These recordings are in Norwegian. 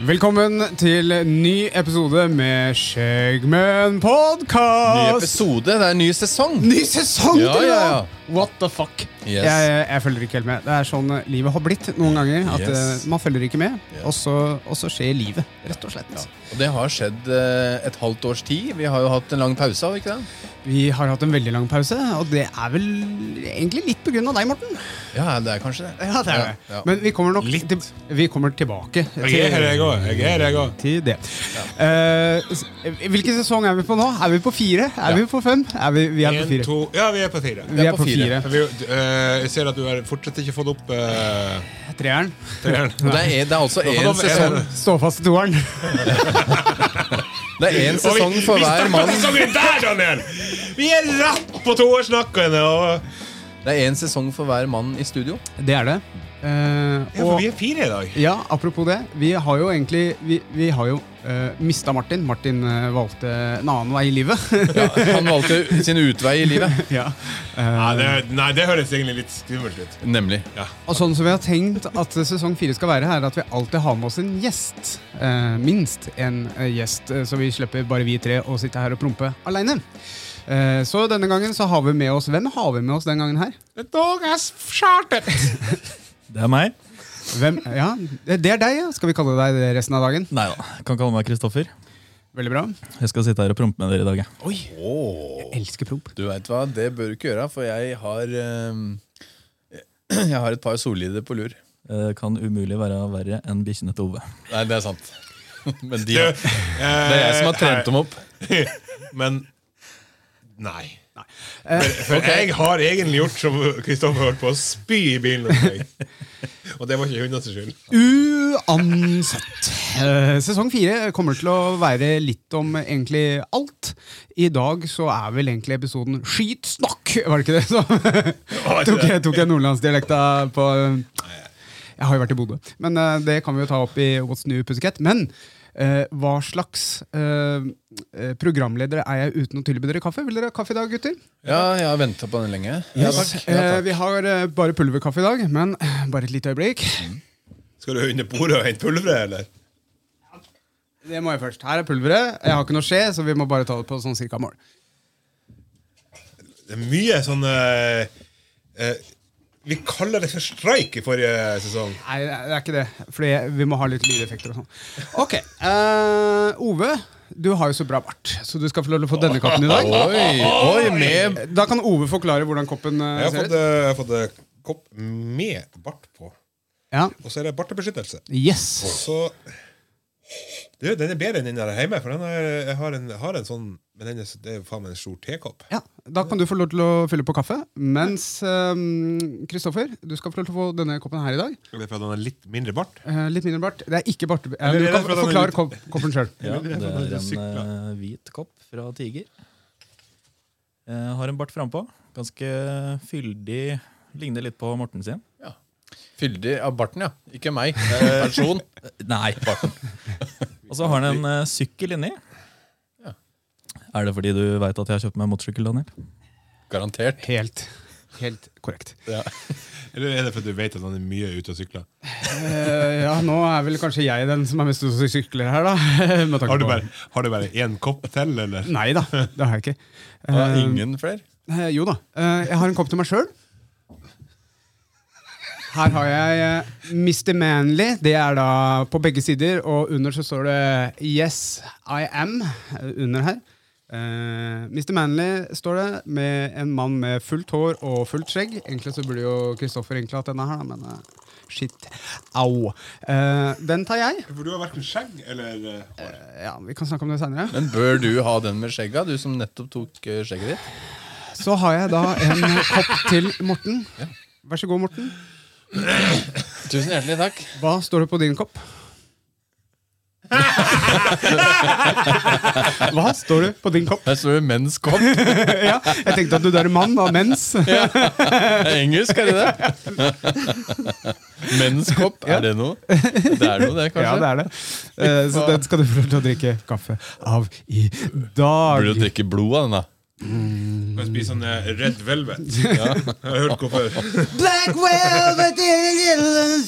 Velkommen til ny episode med Skjeggmenn Ny podkast! episode, det er en ny sesong. Ah, Ny sesong Ja, til og med! ja, ja. What the fuck? Yes. Jeg, jeg følger ikke helt med. Det er sånn eh, livet har blitt noen ganger. At Yes. eh, Man følger ikke med, Ja. og, så, og så skjer livet, rett og slett. Og det har skjedd eh, et halvt års tid. Vi har jo hatt en lang pause. har vi ikke det? Vi har hatt en veldig lang pause, og det er vel egentlig litt pga. deg, Morten. Ja, det er kanskje det. Ja, det er det. Ja, ja. Men vi kommer nok til, vi kommer tilbake Jeg er her, til, jeg òg. Jeg er her, jeg òg. til det. Eh, s- hvilken sesong er vi på nå? Er vi på fire? Er vi på fem? Er vi, vi er på En, fire. to Ja, vi er på fire. Vi er på fire. Vi, eh, jeg ser at du har fortsatt ikke fått opp uh, Treeren. treeren. Og det, er, det er altså for én da- sesong, Stå fast i toeren. det er en sesong Og vi- for hver mann Vi starter sesongen der, Daniel! Vi er rett på toårsnakkene! Og, Det er en sesong for hver mann i studio. Det er det. Eh, ja, for og vi er fire i dag. ja, apropos det. Vi har jo egentlig Vi, vi har jo uh, mista Martin. Martin eh, valgte en annen vei i livet. Ja, han valgte sin utvei i livet. ja. Nei, Eh, det, nei, det høres egentlig litt skummelt ut. Nemlig. og sånn som vi har tenkt at sesong fire skal være, er at vi alltid har med oss en gjest. Eh, minst en eh, gjest, eh, så vi slipper bare vi tre å sitte her og prompe aleine. så denne gangen så har vi med oss Hvem har vi med oss den gangen her? The dog has charted. Det er meg. Hvem, ja, Det er deg, ja. Skal vi kalle deg det resten av dagen? Nei da, kan kalle meg Kristoffer. Veldig bra. Jeg skal sitte her og prompe med dere i dag. jeg. Elsker promp. Du veit hva, det bør du ikke gjøre, for jeg har eh, Jeg har et par sollider på lur. Eh, Det kan umulig være verre enn bikkjene til Ove. Nei, det er sant. Men de, Du, eh, det er jeg som har trent dem opp. Men nei. Eh, For, for jeg har egentlig gjort som Kristoffer holdt på å spy i bilen. hos meg. Og det var ikke hundene sin skyld. Uansett. Eh, Sesong fire kommer til å være litt om egentlig alt. I dag så er vel egentlig episoden Skyt snakk, var det ikke det? Så, var ikke tok, det. jeg, tok jeg nordlandsdialekta på eh, Jeg har jo vært i Bodø, men eh, det kan vi jo ta opp i What's New Pussycat. Men eh, hva slags eh, eh, programledere er jeg uten å tilby dere kaffe? Vil dere ha kaffe i dag, gutter? Ja, jeg har venta på den lenge. Ja, takk. Ja, Eh, takk. vi har eh, bare pulverkaffe i dag, men eh, bare et lite øyeblikk. Skal du under bordet og hente pulveret, eller? Det må jeg først. Her er pulveret. Jeg har ikke noe skje, så vi må bare ta det på sånn cirka mål. Det er mye sånn eh, eh, Vi kaller det for streik i forrige sesong. Nei, det er ikke det. Fordi vi må ha litt lydeffekter og sånn. Ok. eh, Ove, du har jo så bra bart, så du skal få lov til å få denne kappen i dag. Oi, oi, med Da kan Ove forklare hvordan koppen eh, Jeg har ser fått, ut. eh, jeg har fått eh, kopp med bart på. Ja. Og så er det bartebeskyttelse. Yes. Så du, Den er bedre enn den der hjemme, for den er, jeg har en, har en sånn Men den er, s- det er jo faen meg en stor tekopp. Ja, Da kan du få lov til å fylle på kaffe. Mens eh, Kristoffer, du skal få lov til å få denne koppen her i dag. Det er fordi den har litt mindre bart. Eh, litt mindre bart. Det er ikke bart... eh, Eller du er det kan for at han er forklare litt- kop koppen sjøl. Ja, det er er en sykla. eh, hvit kopp fra Tiger. Jeg har en bart frampå. Ganske fyldig. Ligner litt på Morten sin. Fyldig av barten, ja. Ikke meg. eh, Person. Nei, barten. Og så har den en eh, sykkel inni. Ja. Er det fordi du veit at jeg har kjøpt meg motorsykkel, Daniel? Garantert. Helt, helt korrekt. Eller er det fordi du vet at han er mye ute og sykler? Eh, ja, nå er vel kanskje jeg den som er mest ute og sykler her, da. Med tanke Har du på- bare, har du bare én kopp til, eller? Nei da, det har jeg ikke. Ja, Eh, ingen flere. eh, jo da. eh, jeg har en kopp til meg sjøl. Her har jeg eh, Mr. Manly. Det er da på begge sider. Og under så står det 'Yes, I am' eh, under her. Eh, Mr. Manly står det, med en mann med fullt hår og fullt skjegg. Egentlig så burde jo Kristoffer egentlig hatt denne her, da, men eh, shit. Au. Eh, den tar jeg. For du har verken skjegg eller eh, Ja, Vi kan snakke om det seinere. Men bør du ha den med skjegga, du som nettopp tok eh, skjegget ditt? Så har jeg da en kopp til Morten. Vær så god, Morten. Tusen hjertelig takk. Hva står det på din kopp? Hva står det på din kopp? Her står det 'mens kopp'. Ja, jeg tenkte at du der er mann var mens. Det er engelsk, er det det? Mens kopp, er det noe? Det er noe, det, kanskje? Ja, det er det. Eh, Så den skal du få lov til å drikke kaffe av i Burde du dag. drikke blod av den, da? Kan jeg spise sånn eh, Red Velvet. Jeg har hørt hvorfor. Black velvet in a little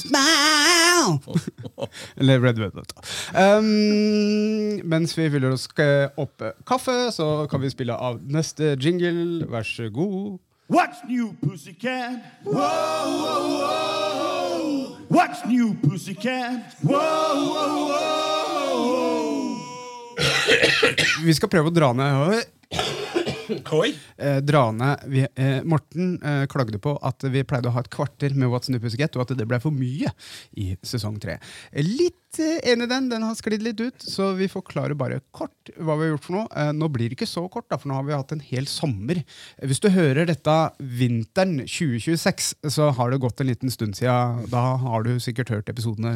smile. Eller Red Velvet. Um, mens vi fyller oss eh, opp kaffe, så kan vi spille av neste jingle. Vær så god. What's new, pussycat? Whoa, whoa, whoa. What's new, pussycat? Whoa, whoa, whoa. Vi skal prøve å dra ned Oi! eh, dra ned vi, eh, Morten eh, klagde på at vi pleide å ha et kvarter med What's New Pussycat, og at det ble for mye i sesong tre. Eh, Litt eh, enig i den. Den har sklidd litt ut, så vi forklarer bare kort hva vi har gjort for noe. Eh, nå blir det ikke så kort, da, for nå har vi hatt en hel sommer. Eh, Hvis du hører dette vinteren 2026, så har det gått en liten stund siden. Da har du sikkert hørt episodene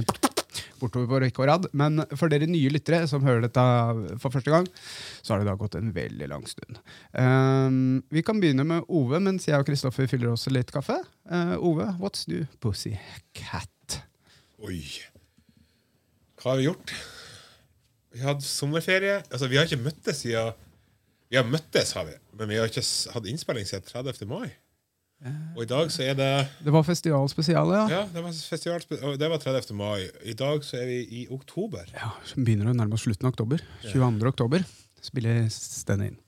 bortover på rekke og rad. Men for dere nye lyttere som hører dette for første gang, så har det da gått en veldig lang stund. Ehm, vi kan begynne med Ove, mens jeg og Kristoffer fyller oss litt kaffe. Eh, Ove, what's new pussy cat? Oi. Hva har vi gjort? Vi har hatt sommerferie. Altså, vi har ikke møttes siden Vi har møttes, har vi, men vi har ikke s- hatt innspilling siden 30. mai. Og i dag så er det Det var festival spesial, ja. Ja, det var, festival, og det var 30. mai. I dag så er vi i oktober. ja. så Begynner å nærme oss slutten av oktober. 22. oktober spiller Stand In.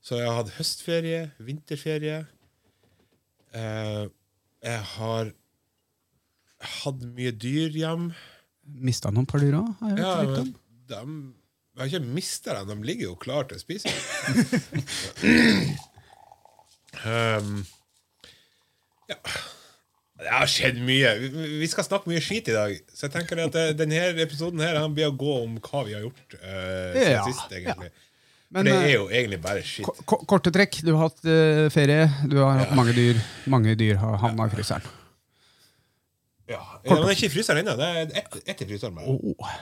Så jeg har hatt høstferie, vinterferie. Eh, jeg har hatt mye dyr hjem. Mista noen par dyr òg, har jeg hørt Ja, rykte men om. dem- jeg har ikke mista dem. De ligger jo klar til å spise. um, ja. Det har skjedd mye. Vi, vi skal snakke mye skit i dag. Så jeg tenker at det, denne episoden her han blir å gå om hva vi har gjort eh, siden Ja, sist. egentlig Men, For det eh, er jo egentlig bare Ko- skitt. ko- Korte trekk. Du har hatt eh, ferie, du har hatt mange dyr. Mange dyr har havna i fryseren. Ja, men det er ikke i fryseren ennå. Det er ett et i fryseren. bare. Åh.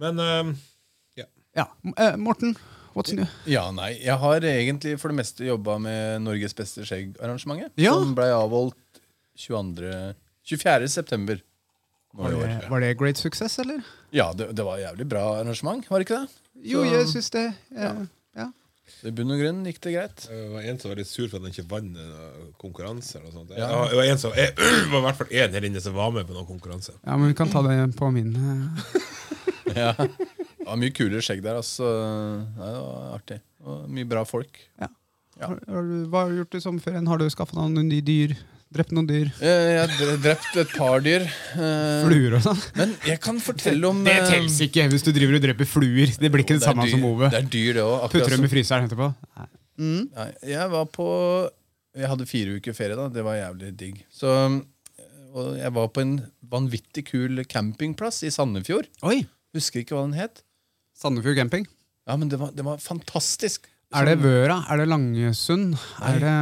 Men um, ja. Ja. eh, Morten, what's new? Ja, nei. Jeg har egentlig for det meste jobba med Norges beste skjegg-arrangementet. Ja. Som blei avholdt 22. 24. september. Nå i Var år. det, var det great success, eller? Ja, det, det var et jævlig bra arrangement, var det ikke det? Jo, jeg syns det. eh, Ja. Ja. Så I bunn og grunn gikk det greit. Det var en som var litt sur for at han ikke vant eh, konkurranser. og sånt. Ja. Det var en som, jeg, det var i hvert fall én her inne som var med på noen konkurranse. ja, men vi kan ta det på min. eh. Ja. Det var mye kulere skjegg der, altså. Nei, det var artig. Og mye bra folk. Ja. Har, har du, hva har du gjort i sommerferien? Har du skaffa noen nye dyr? Drept noen dyr? Eh, Jeg har drept et par dyr. eh, Fluer og sånn? Men jeg kan fortelle om Det eh, telles ikke hvis du driver og dreper fluer. Det blir ikke det, altså- er samme dyr- som Ove. Det er dyr, det òg. Putter dem i fryseren etterpå. Nei, jeg var på Jeg hadde fire uker ferie da, det var jævlig digg. Så, og jeg var på en vanvittig kul campingplass i Sandefjord. Oi! Husker ikke hva den het. Sandefjord camping. Ja, men det var, det var fantastisk. Er det Vøra? Er det Langesund? Er det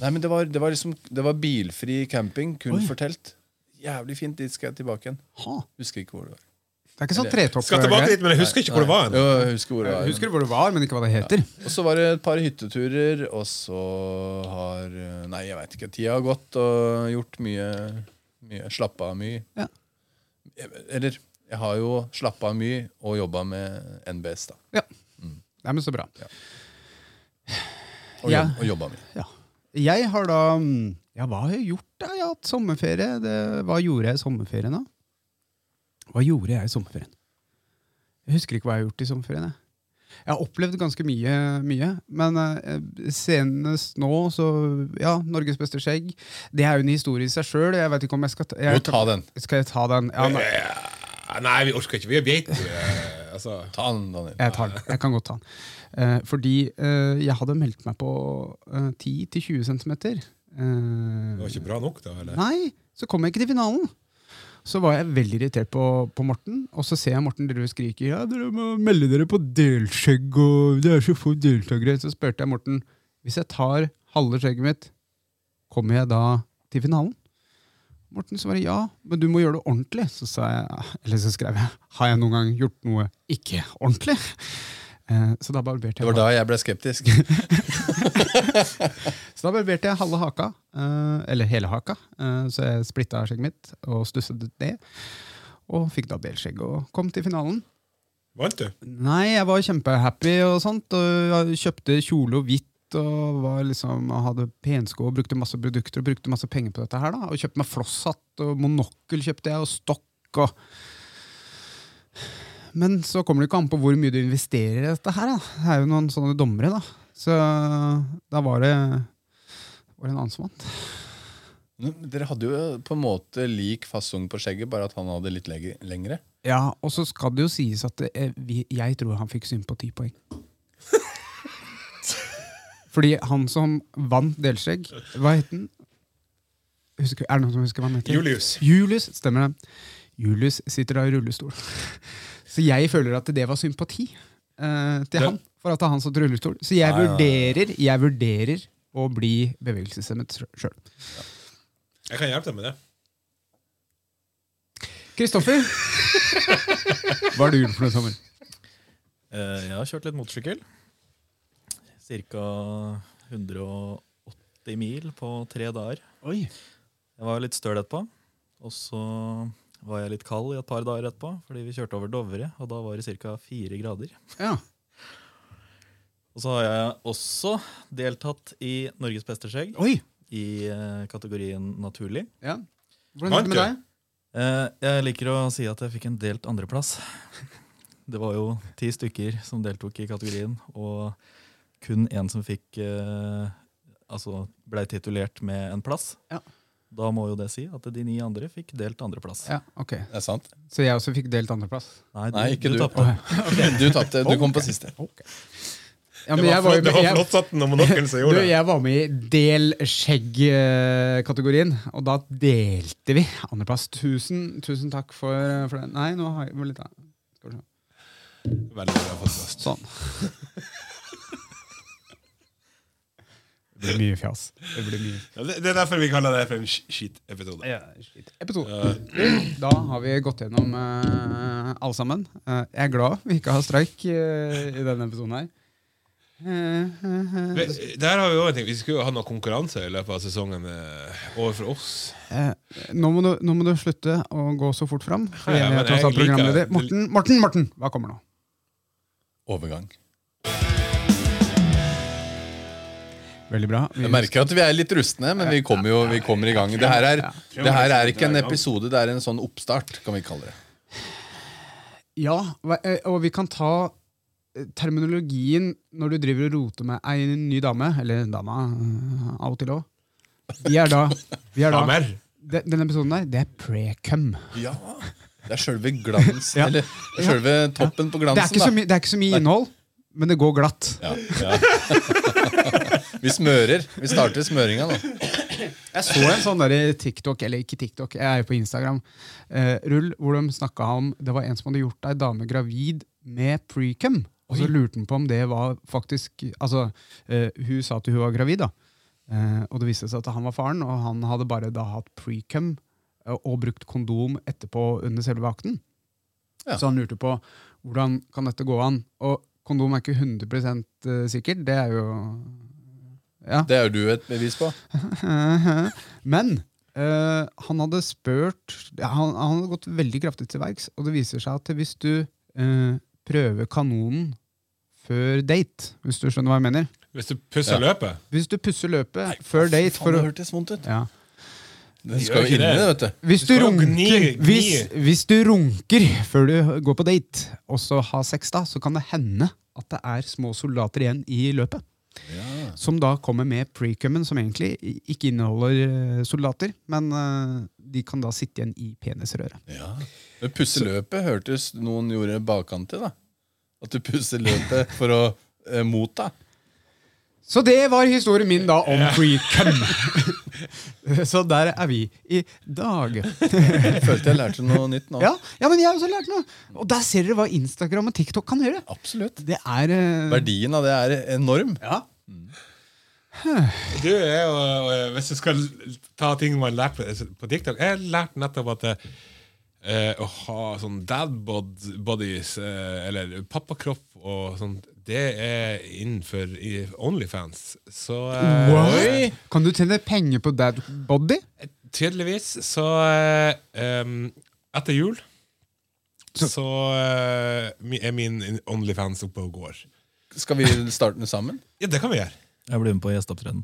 Nei, men det var, det var liksom Det var bilfri camping, kun for telt. Jævlig fint. Dit skal jeg tilbake igjen. ha. Husker ikke hvor det var. Det er ikke sånn Skal tilbake tretopp? dit, men jeg husker ikke hvor det var. Jo, hen. jeg husker hvor det var. Husker du hvor det var, men ikke hva det heter? Og så var det et par hytteturer, og så har eh, Nei, jeg veit ikke. Tida har gått og gjort mye. mye Slappa av mye. Ja. Jeg- Eller jeg har jo slappa av mye og jobba med NBS, da. Ja. Nei, men så bra. Og, Ja. jobb, og jobba mye. Ja. Jeg har da mm, Ja, hva har jeg gjort? da? Jeg har hatt sommerferie. Det, hva gjorde jeg i sommerferien, da? Hva gjorde jeg i sommerferien? Jeg husker ikke hva jeg har gjort i sommerferien. Jeg, jeg har opplevd ganske mye, mye men eh, senest nå, så Ja, Norges beste skjegg. Det er jo en historie i seg sjøl. Jeg vet ikke om jeg skal ta, Jo, jeg, ta den. Skal jeg ta den? Ja, nei, Ja, Nei, vi orker ikke. Vi er geit. eh, Altså, Ta den, Daniel. jeg tar den. Jeg kan godt ta den. Eh, fordi eh, jeg hadde meldt meg på eh, 10-20 cm. Eh, det var ikke bra nok, da? eller? Nei, så kom jeg ikke til finalen. Så var jeg veldig irritert på, på Morten, og så ser jeg Morten driver og skriker ja, dere må melde dere på delskjegg, og det er så få deltakere. Så spurte jeg Morten hvis jeg tar halve skjegget mitt, kommer jeg da til finalen? Morten svarer ja, men du må gjøre det ordentlig. Så, sa jeg, eller så skrev jeg har jeg noen gang gjort noe ikke ordentlig? Eh, Så da barberte Det jeg, var da jeg ble skeptisk. så da barberte jeg halve haka, eh, eller hele haka. eh, Så jeg splitta skjegget mitt og stusset ut det. Og fikk da belskjegg og kom til finalen. Vant du? Nei, jeg var kjempehappy og sånt. Og jeg kjøpte kjole og hvitt og var liksom, og hadde pensko og brukte masse produkter og brukte masse penger på dette. her da Og kjøpte meg flosshatt og monokkel kjøpte jeg og stokk og Men så kommer det ikke an på hvor mye du investerer i dette her. da Det er jo noen sånne dommere, da. Så da var det var det en annen som vant. Dere hadde jo på en måte lik fasong på skjegget, bare at han hadde litt lege- lengre. Ja, Og så skal det jo sies at det, eh, vi, jeg tror han fikk synd på ti poeng. Fordi han som vant delskjegg, hva het han? Husker, er det noen som husker hva han heter? Julius. Julius, stemmer det. Julius sitter da i rullestol. Så jeg føler at det var sympati eh, til han, for at han satt i rullestol. Så jeg vurderer, jeg vurderer å bli bevegelseshemmet sjøl. Jeg kan hjelpe deg med det. Kristoffer, hva har du gjort for noe sommer? Eh, Jeg har kjørt litt motorsykkel. Cirka 180 mil på tre dager. Oi. Jeg var litt støl etterpå. Og så var jeg litt kald i et par dager etterpå, fordi vi kjørte over Dovre, og da var det ca. fire grader. Ja. Og så har jeg også deltatt i Norges beste skjegg Oi. i eh, kategorien naturlig. Ja. Hvordan gikk det med Vant deg? Eh, Jeg liker å si at jeg fikk en delt andreplass. Det var jo ti stykker som deltok i kategorien, og kun én som fikk eh, Altså blei titulert med en plass. Ja. Da må jo det si at de ni andre fikk delt andreplass. Ja, ok. Det er sant? Så jeg også fikk delt andreplass? Nei, du, Nei, ikke du, du. tapte. Du tapte. Du kom på siste. Ok. Ja, men det jeg var, var, flott, jo det med- var jeg, flott satt den og monokkelen som du, gjorde det. jeg var med i del skjegg-kategorien, og da delte vi andreplass. Tusen, tusen takk for, eh, for det. Nei, nå har jeg hvor litt av. Skal vi se. Veldig bra podcast. Sånn. Det blir mye fjas. Det blir mye Ja, det, det er derfor vi kaller det for en sk- skitepisode. ja, shit. Episode. Da har vi gått gjennom eh, alle sammen. Eh, jeg er glad vi ikke har streik eh, i denne episoden her. Eh, eh, eh. Vi- Der har vi også en ting. Vi skulle jo ha noe konkurranse i løpet av sesongen eh, overfor oss. Eh, nå, må du, nå må du slutte å gå så fort fram. For jeg Ja, men er tross jeg alt liker- programleder. Morten, Morten, Morten, hva kommer nå? Overgang. Veldig bra. Vi- Jeg merker at vi er litt rustne, men vi kommer jo vi kommer i gang. Det her, er, det her er ikke en episode, det er en sånn oppstart, kan vi kalle det. Ja, hva- eh, og vi kan ta eh, terminologien når du driver og roter med ei ny dame, eller dama eh, av og til òg. Vi er da, vi er da Damer. de- Denne episoden der, det er pre-cum. Ja, Det er sjølve glansen, eller sjølve toppen på Det er ikke så, glansen, da. mye- det er ikke så mye innhold, men det går glatt. Ja, ja. Vi smører. Vi starter smøringa, da. Jeg så en sånn der TikTok, eller ikke TikTok, jeg er jo på Instagram, eh, rull, hvor de snakka om Det var en som hadde gjort ei dame gravid med precum. Og så lurte han på om det var faktisk Altså, eh, hun sa at hun var gravid, da. Eh, og det viste seg at han var faren, og han hadde bare da hatt precum eh, og brukt kondom etterpå under selve akten. Ja. Så han lurte på hvordan kan dette gå an. Og kondom er ikke 100 sikkert. Det er jo Det er jo du et bevis på. Men eh, han hadde spurt ja, han, han hadde gått veldig kraftig til verks, og det viser seg at hvis du eh, prøver kanonen før date, hvis du skjønner hva jeg mener Hvis du pusser Ja. løpet. Hvis du pusser løpet før date Faen, for det å hørtes vondt ut. ja. Den gjør skal jo ikke inne, det. vet du. hvis, du skal jo runker, gni- gni. hvis, hvis du runker før du går på date, og så har sex, da, så kan det hende at det er små soldater igjen i løpet. Som da kommer med precummen, som egentlig i- ikke inneholder eh, soldater. Men eh, de kan da sitte igjen i penisrøret. Ja. Men pusseløpet hørtes noen gjorde bakkant til, da. At du pusser løpet for å eh, motta. Så det var historien min da om precum. så der er vi i dag. Jeg følte jeg lærte noe nytt nå. Ja, ja men jeg har også lært noe! Og der ser dere hva Instagram og TikTok kan gjøre. Absolutt. Det er eh, Verdien av det er enorm. Ja. Du er jo, eh, Hvis du skal ta ting man har lært på, altså, på TikTok Jeg har lært nettopp at eh, å ha sånn dad bod- bodies, eh, eller pappakropp og sånt, det er innenfor i Onlyfans. Så eh, Oi! Kan du tjene penger på dad body? tydeligvis så eh, em, Etter jul så, eh, mi- er min Onlyfans oppe og går. Skal vi starte den sammen? Ja, det kan vi gjøre. Jeg blir med på gjesteopptreden.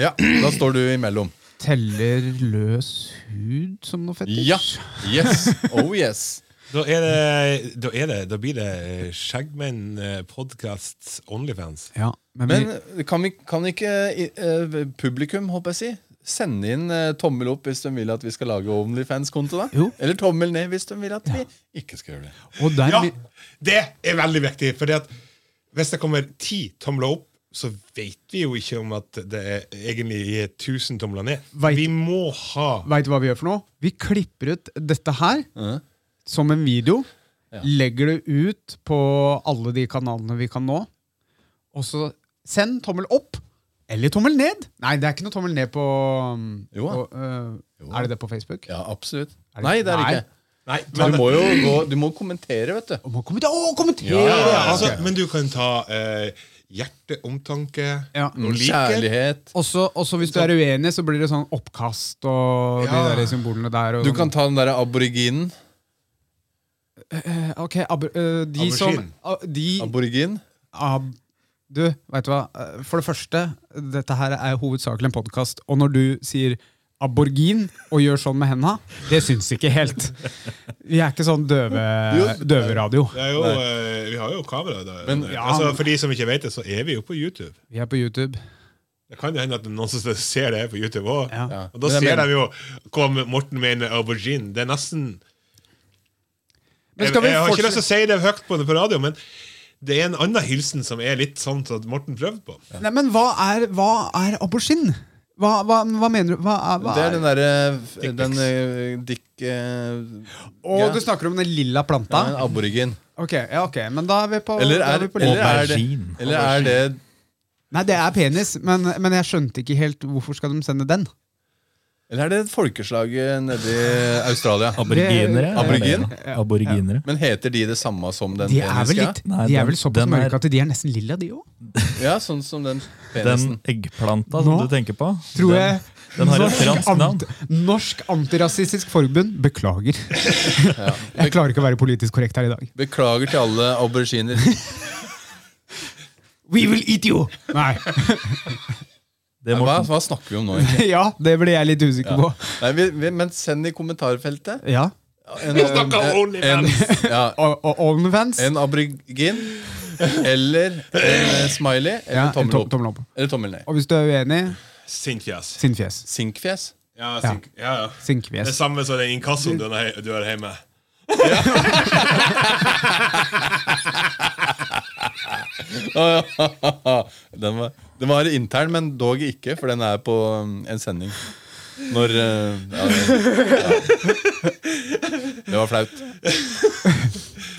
Ja, da står du imellom. Teller løs hud som noe fetisj? Ja. Yes. Oh yes. Da, er det, da, er det, da blir det Skjeggmenn eh, podcast Onlyfans. Ja, men, Men vi, kan, vi, kan ikke eh, publikum, håper jeg si, sende inn eh, tommel opp hvis de vil at vi skal lage Onlyfans-konto? da? Jo. Eller tommel ned hvis de vil at vi ikke skal gjøre det. og der, Ja, vi- det er veldig viktig. Fordi at hvis det kommer ti tomler opp, så vet vi jo ikke om at det er egentlig er 1000 tomler ned. Veit- Vi må ha Vet du hva vi gjør for noe? Vi klipper ut dette her Mhm. som en video. Ja. Legger det ut på alle de kanalene vi kan nå. Og så send tommel opp eller tommel ned. Nei, det er ikke noe tommel ned på, um, Jo da. på, øh, Jo da. Er det det på Facebook? Ja, absolutt. Er det- Nei, det er det Nei. ikke. Nei, Men men, du må jo gå, du må kommentere, vet du. Å, må kommenter- å, kommenter! Ja, ja, ja, altså, ok. men du kan ta eh, hjerteomtanke Ja. og liker. Kjærlighet. Også, også hvis du er uenig, så blir det sånn oppkast og Ja. de der symbolene der. Og Du kan ta den derre aboriginen. sånn. Ok, abor- øh, de som Aubergine. a- de, Aborigin. Ab, du, vet du hva? Eh, For det første, dette her er hovedsakelig en podkast. Og når du sier aborgin og gjør sånn med henda, det syns ikke helt. Vi er ikke sånn døve, døveradio. Det er jo, eh, vi har jo kamera. Da. Men- altså, for de som ikke vet det, så er vi jo på YouTube. Vi er på YouTube. Det kan jo hende at noen som ser det her på YouTube òg. Ja. Ja. Og da Men jeg ser mener- de jo hva Morten mener aubergine. Det er nesten Men Jeg, skal vi jeg har ikke lyst til fortsette? å si det høyt på, på radio, men det er en annen hilsen som er litt sånn som Morten prøvde på. Nei, men hva er, hva er aubergine? Hva, hva, hva mener du? Hva er, hva Det er er? den derre Dick Den pics. eh, dick... eh, Å, ja. du snakker om den lilla ja, planta? en aborigin. Ok, ja, ok, men da er vi på, Eller da er, vi på eller er det Aubergine. Eller er det Nei, det er penis, men, men jeg skjønte ikke helt hvorfor skal de sende den. Eller er det folkeslaget nede i Australia? Aboriginere? Aborigin? Ja. Aboriginere. Men heter de det samme som den De er vel peniska? litt Nei, De er den- vel såpass den er- mørke at de er nesten lilla, de òg. Ja, sånn som den penisen. Den eggplanta som Nå du tenker på, Tror den, jeg den har et fransk navn. Norsk Antirasistisk Forbund beklager. Jeg klarer ikke å være politisk korrekt her i dag. Beklager til alle auberginer. We will eat you! Nei. Det er Hva, Morten. hva snakker vi om nå, egentlig? Ja, det ble jeg litt usikker på. Nei, vi, vi, men send i kommentarfeltet Ja. en, eh, Vi snakker en- Onlyfans. en- ja, Og, og OnlyFans. en aborigin eller en eh, smiley eller Ja, en tommel tom- opp. tommel opp. Eller tommel ned. Og hvis du er uenig, Sint fjes. sinn fjes. Sinkfjes. Ja, sink, ja. ja, Det Sinkfjes. samme som den inkassoen du har du har hjemme. Ah, den, var, den var intern, men dog ikke, for den er på um, en sending. Når eh, ja, ja. Det var flaut.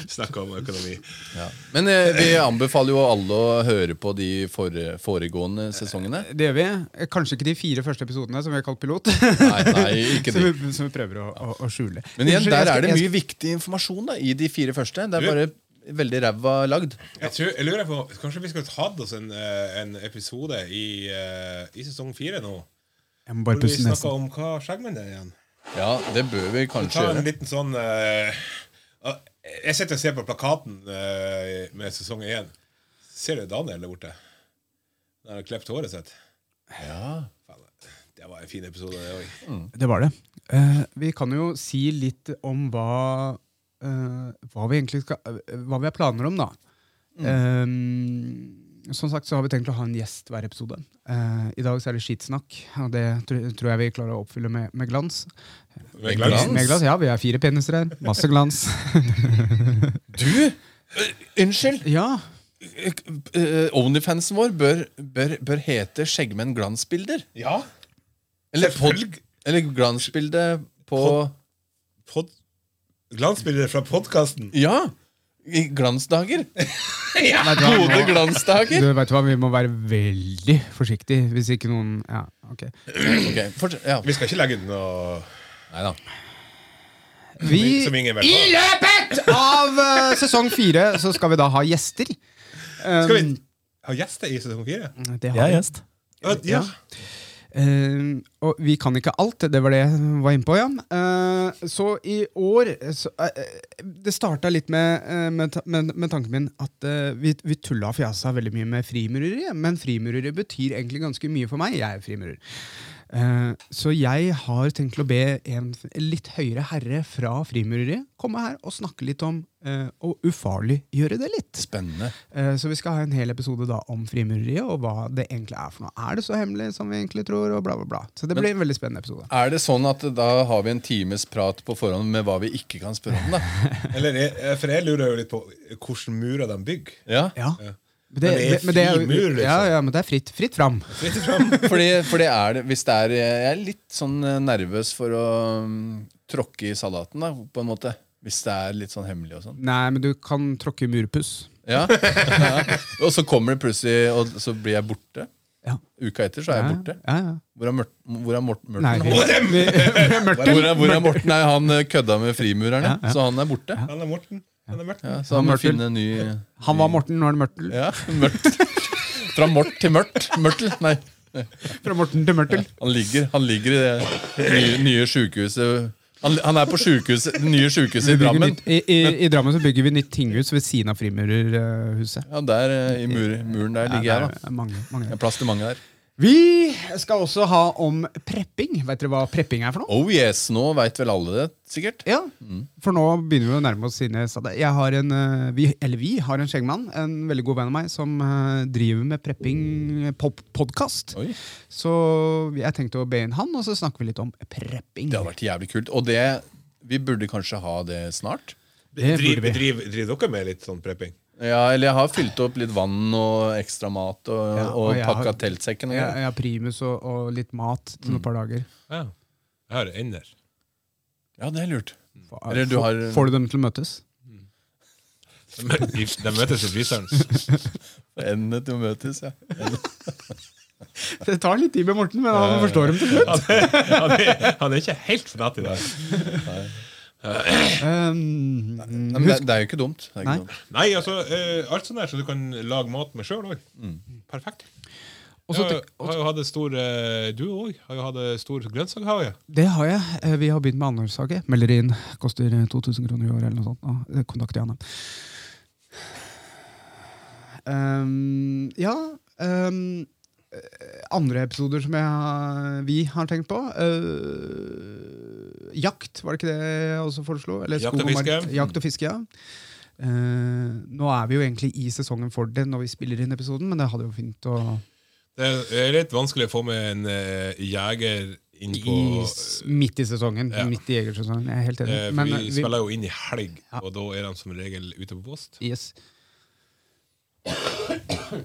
Snakka om økonomi. Ja. Men eh, vi anbefaler jo alle å høre på de fore, foregående sesongene. Det gjør vi. Kanskje ikke de fire første episodene, som vi har kalt pilot. Nei, nei ikke Som de. vi, som vi prøver å, å, å skjule. Men igjen, Unnskyld, jeg der skal- er det jeg mye viktig informasjon da, i de fire første. Det er Du- bare veldig ræva lagd. Jeg, tror, jeg lurer på, Kanskje vi skulle hatt oss en, eh, en episode i, eh, i sesong fire nå? skal- Jeg må Hvor bare vi pusse snakker nesen. om hva skjeggmenn er igjen. Ja, det bør vi kanskje Ta en gjøre. liten sånn eh, ah, Jeg sitter og ser på plakaten eh, med sesong én. Ser du Daniel der borte? Han har klippet håret sitt. Ja. Faen, det var en fin episode, det òg. Det var det. Eh, vi kan jo si litt om hva eh, Hva vi egentlig skal eh, Hva vi har planer om, da. Mm. Eh, som sagt så har vi tenkt å ha en gjest hver episode. Eh, I dag så er det skitsnakk, og det tr tror jeg vi klarer å oppfylle med, med glans. Med glans? Med glans, Ja, vi er fire peniser her. Masse glans. Du! eh, Unnskyld! ja, Eh, eh, Onlyfansen vår bør, bør, bør hete Skjeggmenn glansbilder. Ja. Eller, pod, Selvfølgelig. eller glansbilde på Pod- Glansbilder fra podkasten. Ja! I glansdager. Vet du hva, Gode nå- glansdager. Du vet hva, Vi må være veldig forsiktige hvis ikke noen Ja, ok. Ok, forts- ja. Vi skal ikke legge ut noe Neida. Vi, som ingen vil I ha. løpet av eh, sesong fire så skal vi da ha gjester. Um, Skal vi ha gjester i sesong fire? Det Jeg har er vi. gjest. Ja, ja. Eh, og vi kan ikke alt, det var det jeg var inne på, Jan. Eh, så i år så, eh, Det starta litt med, eh, med, ta- med, med tanken min at eh, vi, vi tulla og fjasa veldig mye med frimurere, men frimurere betyr egentlig ganske mye for meg. Jeg er frimurer. Eh, så jeg har tenkt til å be en f- litt høyere herre fra Frimureriet komme her og snakke litt om eh, å ufarliggjøre det litt. Spennende. Eh, Så vi skal ha en hel episode da om frimureriet og hva det egentlig er for noe. Er det så hemmelig som vi egentlig tror? Og bla, bla, bla. Så det blir en veldig spennende episode. Er det sånn at da har vi en times prat på forhånd med hva vi ikke kan spørre om, da? Eller, jeg- for jeg lurer jo litt på hvilke murer de bygger. Ja. Ja. Men Men det er men det er jo- frimur, liksom. Ja, ja, men det er fritt, fritt fram. Fritt fram. Fordi, for det er det Hvis det er Jeg er litt sånn eh, nervøs for å mm, tråkke i salaten, da, på en måte. Hvis det er litt sånn hemmelig og sånn. Nei, men du kan tråkke murpuss. Ja. ja. Og så kommer det plutselig, og så blir jeg borte. Ja. Uka etter så er jeg borte. Ja, ja. Hvor er Mørten? Hvor er Mort- Morten? Nei, vi, Hvor er- vi, Mørten. hvor er, hvor er Morten? Nei, han eh, kødda med frimurerne, Ja, ja. så han er borte. Han er Morten. Han er Morten. Ja, så han må Mørtel. finne en ny Han var Morten, nå er det Mørtel. Ja, mørkt. Fra mort til mørkt. Mørtel. Nei. Fra Morten til Mørtel. Han ligger, han ligger i det nye, nye sykehuset han, han er på sykehuset, det nye sykehuset Vi i bygger Drammen. nytt- I, i, I Drammen så bygger vi nytt tinghus ved siden av frimurerhuset. Ja, der eh, i mur, muren der ligger jeg, da. Det er mange, Det mange. er plass til mange der. Vi skal også ha om prepping. Vet dere hva prepping er for noe? Oh yes, nå veit vel alle det, sikkert? Ja, for nå begynner vi å nærme oss sine steder. Jeg har en, eh, vi, eller vi har en skjeggmann, en veldig god venn av meg, som eh, driver med prepping podkast. Oi, Så jeg tenkte å be inn han, og så snakker vi litt om prepping. Det hadde vært jævlig kult. Og det Vi burde kanskje ha det snart. Det Driv, burde vi. driv, driver dere med litt sånn prepping? Ja, eller jeg har fylt opp litt vann og ekstra mat og, Ja, og og, jeg pakka har- teltsekken. og Jeg, greier. jeg har primus og, og litt mat til Mm. et par dager. Ja. Jeg har ender. Ja, det er lurt. Får- Eller du har- får, får du dem til å møtes? De mø- De de møtes i fryseren. Endene til å møtes, ja. Det tar litt tid med Morten, men han forstår dem til slutt. Han er, han er ikke helt fornatt i dag. Um, Nei, men det, det er jo ikke dumt. Det er Nei. ikke dumt. Nei, altså, eh, alt sånt der som du kan lage mat med sjøl òg. Perfekt. Mm. og så Jeg har, tenk- har jo hatt en stor eh, Du òg har jo hatt en stor grønnsakhage. Det har jeg. Eh, Vi har begynt med andelshage. Melder inn. Koster eh, 2000 kroner i året eller noe sånt. Nå, eh, Kontakt Janne. Ehm, ja ehm, eh, Andre episoder som jeg, har- vi har tenkt på. eh, jakt, var det ikke det jeg også foreslo? Eller Jakt og skog mark- fiske. Jakt og fiske, ja. Eh, nå er vi jo egentlig i sesongen for det når vi spiller inn episoden, men det hadde jo fint å Det er litt vanskelig å få med en eh, jeger inn på i, s- Midt i sesongen. Ja. Midt i jegersesongen. Jeg er helt enig. eh, for Men, vi, eh, vi- spiller jo inn i helg, Ja. og da er de som regel ute på post. Yes.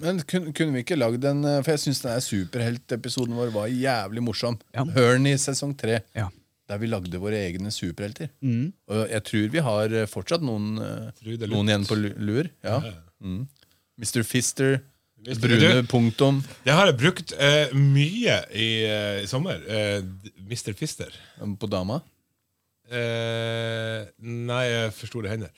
Men kun, kunne vi ikke lagd en eh, For jeg syns denne superheltepisoden vår var jævlig morsom. Ja. Hør den i sesong tre, Ja. der vi lagde våre egne superhelter. Mm. Og jeg tror vi har eh, fortsatt noen, eh, Rude Lund. noen igjen på lu- lur. Ja. Mm. Mr. Fister, Mr. Brune Du- Punktum. Det har jeg brukt eh, mye i, eh, i sommer. Eh, d- Mr. Fister. eh, På dama. Eh, nei, jeg forstod det hender.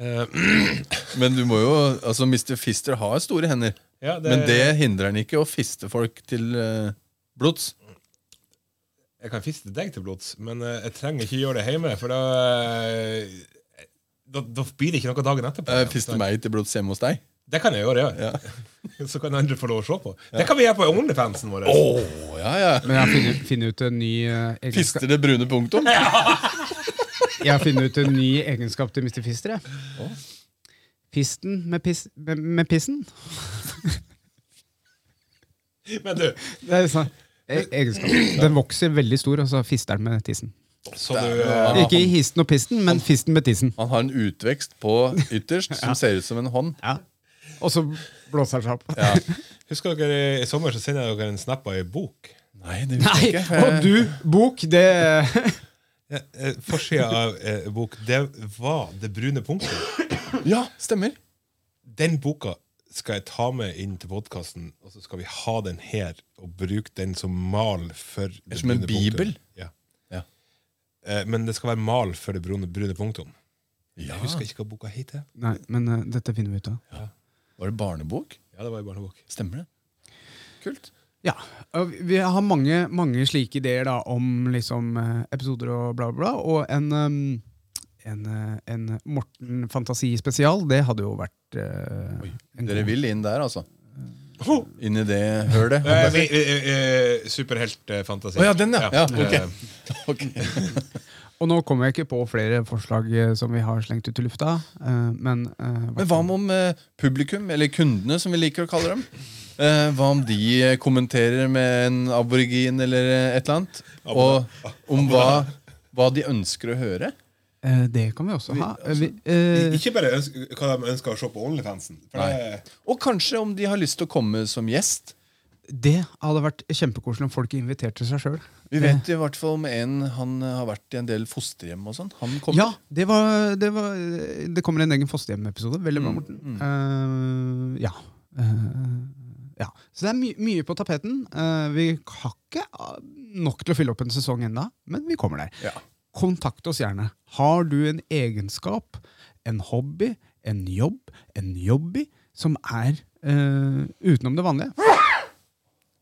Eh, Men du må jo Altså, Mr. Fister har store hender. ja, Men det hindrer han ikke å fiste folk til eh, blods. Jeg kan fiste deg til blods, men eh, jeg trenger ikke gjøre det hjemme, for da eh, da, da blir det ikke noe dagen etterpå. Eh, Fiste meg til blods hjemme hos deg. Det kan jeg gjøre, ja. Så kan andre få lov å se på. Det kan vi gjøre på OnlyFansen vår. Å, ja, ja. Men jeg har funnet, funnet ut en ny eh, egenskap Fister det brune punktum? Ja. Jeg har funnet ut en ny egenskap til Mr. Fister. Jeg. Pisten med, pis, med, med pissen. Men du, Det er sånn. e- Egenskap. Den vokser veldig stor, og så fister den med tissen. så du eh, Ja, Ikke i histen og pisten, men fisten med tissen. Han har en utvekst på ytterst som ser ut som en hånd. Og så blåser den seg opp. eh, Husker dere i sommer så sendte jeg dere en snap av ei bok? Nei, det Nei, og du, bok, det Eh, eh, Forsida av eh, bok, det var det brune punktet. Ja, stemmer. Den boka skal jeg ta med inn til podkasten, og så skal vi ha den her og bruke den som mal for det Som en brune punktum. bibel? Ja. Ja. Eh, Men det skal være mal for det brune, brune punktum. Jeg husker ikke hva boka heter. Nei, men eh, dette finner vi ut av. Var det barnebok? Ja, det var i barnebok. Stemmer det. Kult. Ja, og Vi vi har mange, mange slike ideer da, om liksom, eh, episoder og bla, bla, bla. Og en, em, en, eh, en Morten Fantasi-spesial, det hadde jo vært eh, en Dere god- vil inn der, altså? Inn i det hølet? Eh, vi- eh, eh, Superheltfantasi. Å ja, den, ja. ja Eh, ok. Ok. Og nå kommer jeg ikke på flere forslag eh, som vi har slengt ut i lufta, eh, men eh, Men hva om eh, publikum, eller kundene som vi liker å kalle dem? Eh, hva om de eh, kommenterer med en aborigin eller eh, et eller annet? Og om hva, hva de ønsker å høre? eh, Det kan vi også ha. Eh, Vi, I- eh, Ikke bare ønsker, hva de ønsker å se på Onlyfansen. For Nei. det, Og kanskje om de har lyst til å komme som gjest. det hadde vært kjempekoselig om folk inviterte seg sjøl. Vi vet i hvert fall om en han eh, har vært i en del fosterhjem og sånn. Han kommer. Ja, det, var, det, var, det kommer en egen fosterhjemepisode. Veldig bra, Morten. Eh, ja. Eh, ja. Så det er my mye på tapeten. Eh, vi har ikke ah, nok til å fylle opp en sesong ennå, men vi kommer der. Ja. Kontakt oss gjerne. Har du en egenskap, en hobby, en jobb, en jobby, som er eh, utenom det vanlige?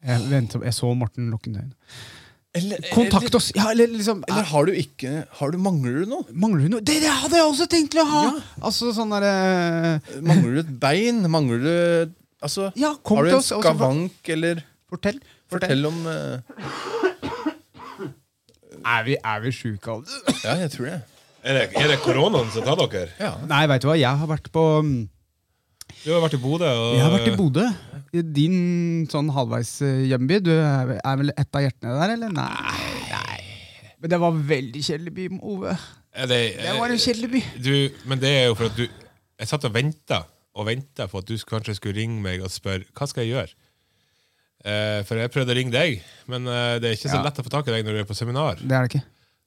Jeg, venter, jeg så Morten lukke øynene. Eller, eh, Kontakt oss! Ja, eller liksom Eller, eller har du ikke har du, Mangler du noe? Mangler du noe? Det, det hadde jeg også tenkt til å ha! Altså sånn derre Mangler du et bein? Mangler du Altså, Ja, kom har du til en oss. og så for- skavank, eller Fortell. fortell. Fortell om eh, Er vi, er vi sjuke alle? Ja, jeg tror det. er, det, er det koronaen som tar dere? Ja. Nei, veit du hva. Jeg har vært på Du har vært i Bodø. Og, Jeg har vært i Bodø. I Din sånn halvveis eh, hjemby. Du er er vel ett av hjertene der, eller? Nei. nei. Men det var veldig kjedelig by, med Ove. Er det, Det var en kjedelig by. Du, men det er jo for at du Jeg satt og venta og venta på at du sk- kanskje skulle ringe meg og spørre hva skal jeg gjøre. Eh, for jeg prøvde å ringe deg, men eh, det er ikke så Ja. lett å få tak i deg når du er på seminar. Det er det ikke.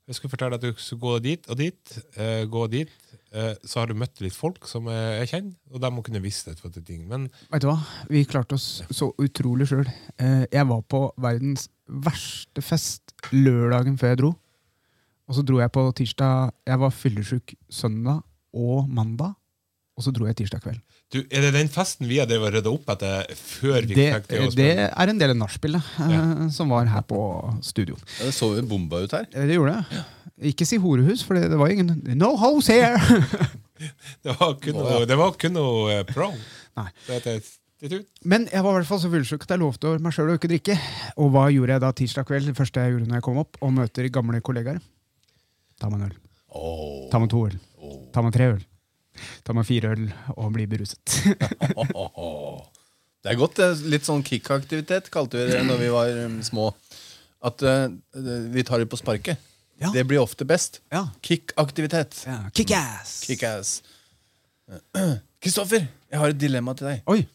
Jeg skulle fortelle at du skulle gå dit og dit, eh, gå dit, eh, så har du møtt litt folk som eh, jeg kjenner, og de må kunne vise deg til ting. Men Vet du hva? Vi klarte oss så utrolig sjøl. Eh, Jeg var på verdens verste fest lørdagen før jeg dro. Og så dro jeg på tirsdag Jeg var fyllesyk søndag og mandag. Og så dro jeg tirsdag kveld. du, er det den festen vi har drevet og rydda opp etter før vi Det, fikk det å det spørre? er en del av nachspielet eh, som var her på studio. Ja, Det så jo bomba ut her. Eh, Det gjorde det. Ikke si horehus, for det, det var ingen No hoes here! Det var kun noe, det var kun noe eh, pro. Nei. Det heter institutt. Men jeg var i hvert fall så fullsjuk at jeg lovte meg sjøl å ikke drikke. Og hva gjorde jeg da tirsdag kveld? Det første jeg gjorde når jeg kom opp, og møter gamle kollegaer? Ta meg en øl. Oh. Ta med to øl. Ta med tre øl. Ta med fire øl og bli beruset. Det er godt. det er Litt sånn kickaktivitet kalte vi det når vi var um, små. At eh, vi tar det på sparket. Ja. Det blir ofte best. Ja. Kickaktivitet. ja. Kickass! Kickass. Kristoffer, jeg har et dilemma til deg. Oi!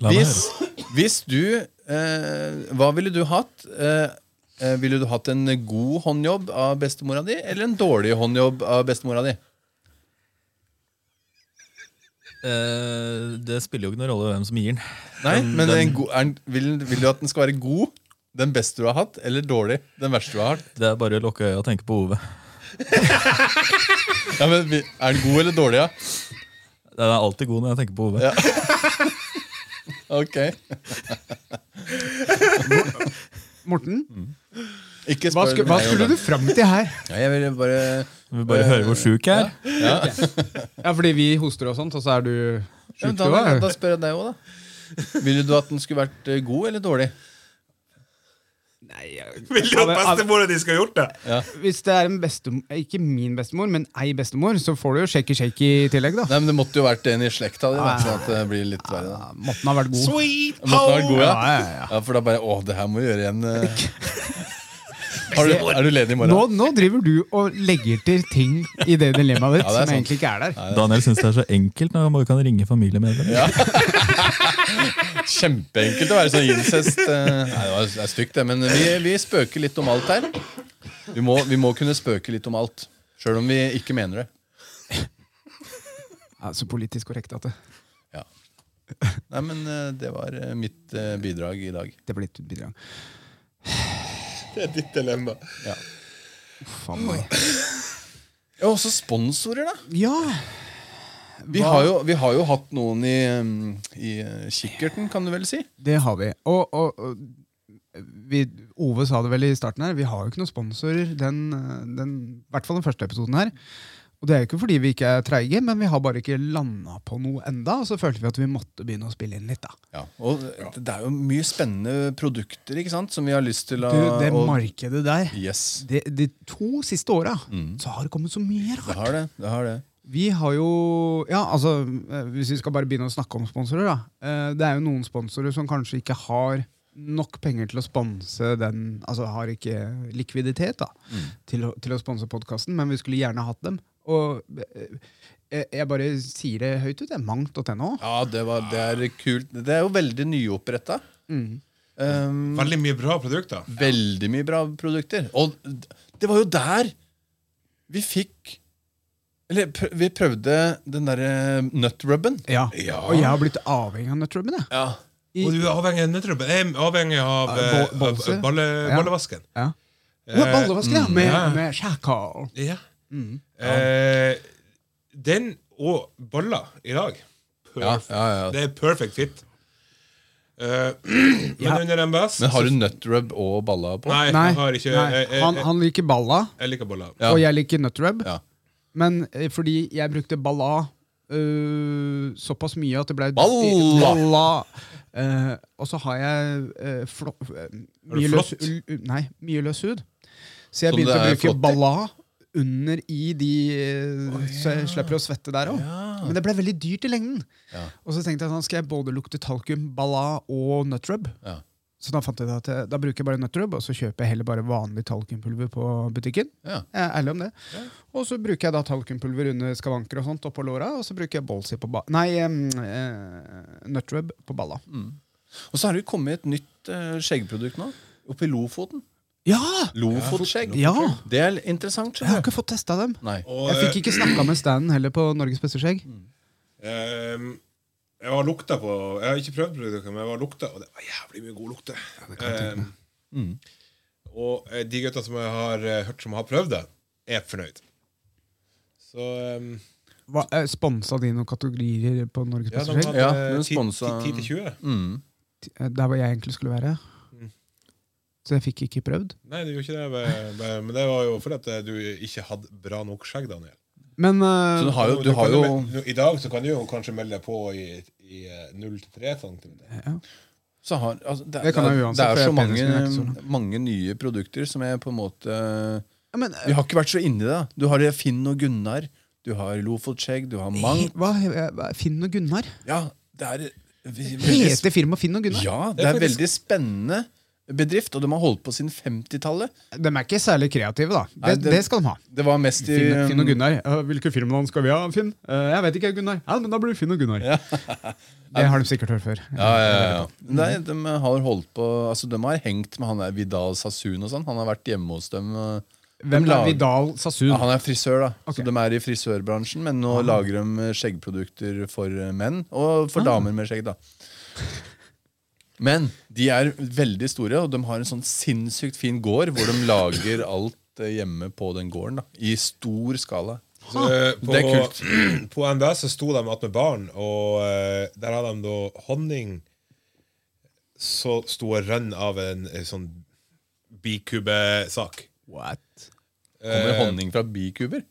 La meg Hvis, hvis du eh, Hva ville du hatt? Eh, eh, ville du hatt en god håndjobb av bestemora di, eller en dårlig håndjobb av bestemora di? Eh, det spiller jo ikke noen rolle hvem som gir den. Nei, Den- men den- en god- er den- vil, vil du at den skal være god, den beste du har hatt, eller dårlig, den verste du har hatt? Det er bare å lukke øya og tenke på Ove. Ja, men vi- Er den god eller dårlig, ja? Den er alltid god når jeg tenker på Ove. Ja. Ok. Morten, Ikke hva, spør sku, hva meg om skulle du det. fram til her? Ja, jeg ville bare Vi bare hører hvor sjuk jeg er. Ja, fordi vi hoster og sånt, og så er du ja, sjuk, men du da, da, òg? spør jeg deg òg, da. Ville du at den skulle vært eh, god eller dårlig? Vil du at bestemora di skal ha gjort det? Hvis det er en bestemor, ikke min bestemor, men ei bestemor, så får du jo shaky-shaky i tillegg, da. Nei, men Det måtte jo vært en i slekta di, da, Ah, sånn at det blir litt verre. Ja, da Måten har vært god. Sweet Det måtte vært god, ja. Ja, ja, ja. ja, for da bare Å, det her må vi gjøre igjen. eh. Har du, er du ledig i morgen? Nå, nå driver du og legger til ting i det dilemmaet ditt Ja, det som er sant. egentlig ikke er der. Daniel syns det er så enkelt når han bare kan ringe familiemedlemmer. Kjempeenkelt å være sånn incest. eh. Nei, det var- det er stygt, det. Men vi, vi spøker litt om alt her. Vi må, vi må kunne spøke litt om alt. Sjøl om vi ikke mener det. Ja, så politisk korrekt at det, Ja. Nei, men eh, det var eh, mitt eh, bidrag i dag. det blir et bidrag. Det er ditt dilemma. Ja. Faen meg. Ja, også sponsorer, da. Ja! Vi har, jo, vi har jo hatt noen i, mm, i eh, kikkerten, kan du vel si. Det har vi. Og, og, og vi, Ove sa det vel i starten her, vi har jo ikke noen sponsorer, den, den, i hvert fall den første episoden her. Og det er jo ikke fordi vi ikke er treige, men vi har bare ikke landa på noe enda, og så følte vi at vi måtte begynne å spille inn litt, da. Ja, og det det er jo mye spennende produkter ikke sant, som vi har lyst til å Du, det å- markedet der. Yes, Mm. De, de to siste åra så har det kommet så mye det rart. har det. det, har det. Vi har jo Ja, altså, eh, hvis vi skal bare begynne å snakke om sponsorer, da. eh, Det er jo noen sponsorer som kanskje ikke har nok penger til å sponse den Altså har ikke likviditet da Mm. til, å, til å sponse podkasten, men vi skulle gjerne hatt dem. Og eh, jeg, jeg bare sier det høyt ut, det er mangt.no. Ja, det, var, det er kult. Det er jo veldig nyoppretta. Mm. Um, Veldig mye bra produkter. Veldig mye bra produkter. Og d- det var jo der vi fikk Eller pr vi prøvde den eh, derre nutrubben. Ja. Ja. Og jeg har blitt avhengig av Nutrubben, jeg. Ja. Og du er avhengig av nøtterubben. Jeg er avhengig av, Bo- eh, av bolse. av balle, Ja. ballevasken. Ja. Ja, Eh, Ballevasken, ja! mm, Med, ja. med kjærkall. Ja. Mm. Eh, den og baller i dag Ja, Perfect. ja, ja. Det er perfect fit. Eh, men Ja. under MS Men har du nutrub og balla på? Nei, Nei, jeg har ikke nei. Jeg, jeg, Han, jeg, han liker balla. jeg liker baller. Ja. og jeg liker nutrub. Ja. Men eh, fordi jeg brukte balla eh, såpass mye at det ble Balla! balla. Eh, og så har jeg eh, flå, eh, mye, du løs, flått? l- nei, mye løs hud. Så jeg Som begynte det å er bruke flått i? balla under i de eh, Så jeg slipper å svette der òg. Men det ble veldig dyrt i lengden. Ah. Ja. Og så tenkte jeg sånn, skal jeg både lukte talkum, balla og nutrub? Ja. Så da fant jeg det at jeg, da bruker jeg bare nøtterub, og så kjøper jeg heller bare vanlig talkumpulver på butikken. Ja. Jeg er ærlig om det. Og så bruker jeg da talkumpulver under skavanker og sånt oppå låra, og så bruker jeg ballsy på ba... Nei, um, nøtterub på balla. Mm. Og så har det jo kommet et nytt eh, skjeggprodukt nå. Oppe i Lofoten. Ja! Lofotskjegg. Ja! Det er interessant. Jeg har skjønner du. ikke fått testa dem. Nei. Og, Jeg fikk ikke eh, snakka med standen heller på Norges beste skjegg. Mm. Ehm, jeg har lukta på Jeg har ikke prøvd produktet, men jeg har lukta, og det var jævlig mye god lukte. Ehm, Mm. Og eh, de gutta som jeg har eh, hørt som har prøvd det, er fornøyd. Så ehm, Hva, eh, Sponsa de noen kategorier på Norges ja, beste de skjegg? hadde Ja, eh, men ti- sponsa- ti- 10 til 20. Mm. Eh, Der hvor jeg egentlig skulle være. Så jeg fikk ikke prøvd. Nei, det gjorde ikke det, men- men- men det var jo fordi at eh, du ikke hadde bra nok skjegg, Daniel. Men Så du eh, har jo, Nå- du nå har kan jo mel- nå- I dag så kan du jo kanskje melde deg på i, i eh, 0-3 cm. så har, altså, det, Det kan jeg det er- uansett, det for er jeg så er penis, men jeg er ikke mange, mange nye produkter som jeg på en måte ja, men, Vi har ikke vært så inni det. da. Du har det Finn og Gunnar, du har Lofotskjegg, du har Mang. eh, Hva, hva- Finn og Gunnar? Ja, det er vi- veldig sp- Heter firmaet Finn og Gunnar? Ja, det Det er er faktisk- veldig spennende bedrift, og de har holdt på siden 50-tallet. De er ikke særlig kreative, da. Det, Nei, det, det- skal de ha. Det var mest i Finn, um, Finn og Gunnar. Ja, Hvilke firmanavn skal vi ha, Finn? Eh, jeg vet ikke, Gunnar. Ja, men da blir det Finn og Gunnar. det har de sikkert hørt før. Ja, ja, ja. Nei, de har holdt på Altså, de har hengt med han der Vidal Sassoon og sånn. Han har vært hjemme hos dem. og- Hvem de er lager- Vidal Sassoon? Ja, han er frisør, da. Ok. Ah. Så de er i frisørbransjen, men nå lager de eh, skjeggprodukter for eh, menn, og Ah. for damer med skjegg, da. Men de er veldig store, og de har en sånn sinnssykt fin gård hvor de lager alt eh, hjemme på den gården. da I stor skala. Så, eh, på, Det er kult. På NBS så sto de at med barn, og eh, der hadde de da honning Så sto og rønn av en, eh, sånn bikubesak. What? Eh, Kommer honning fra bikuber?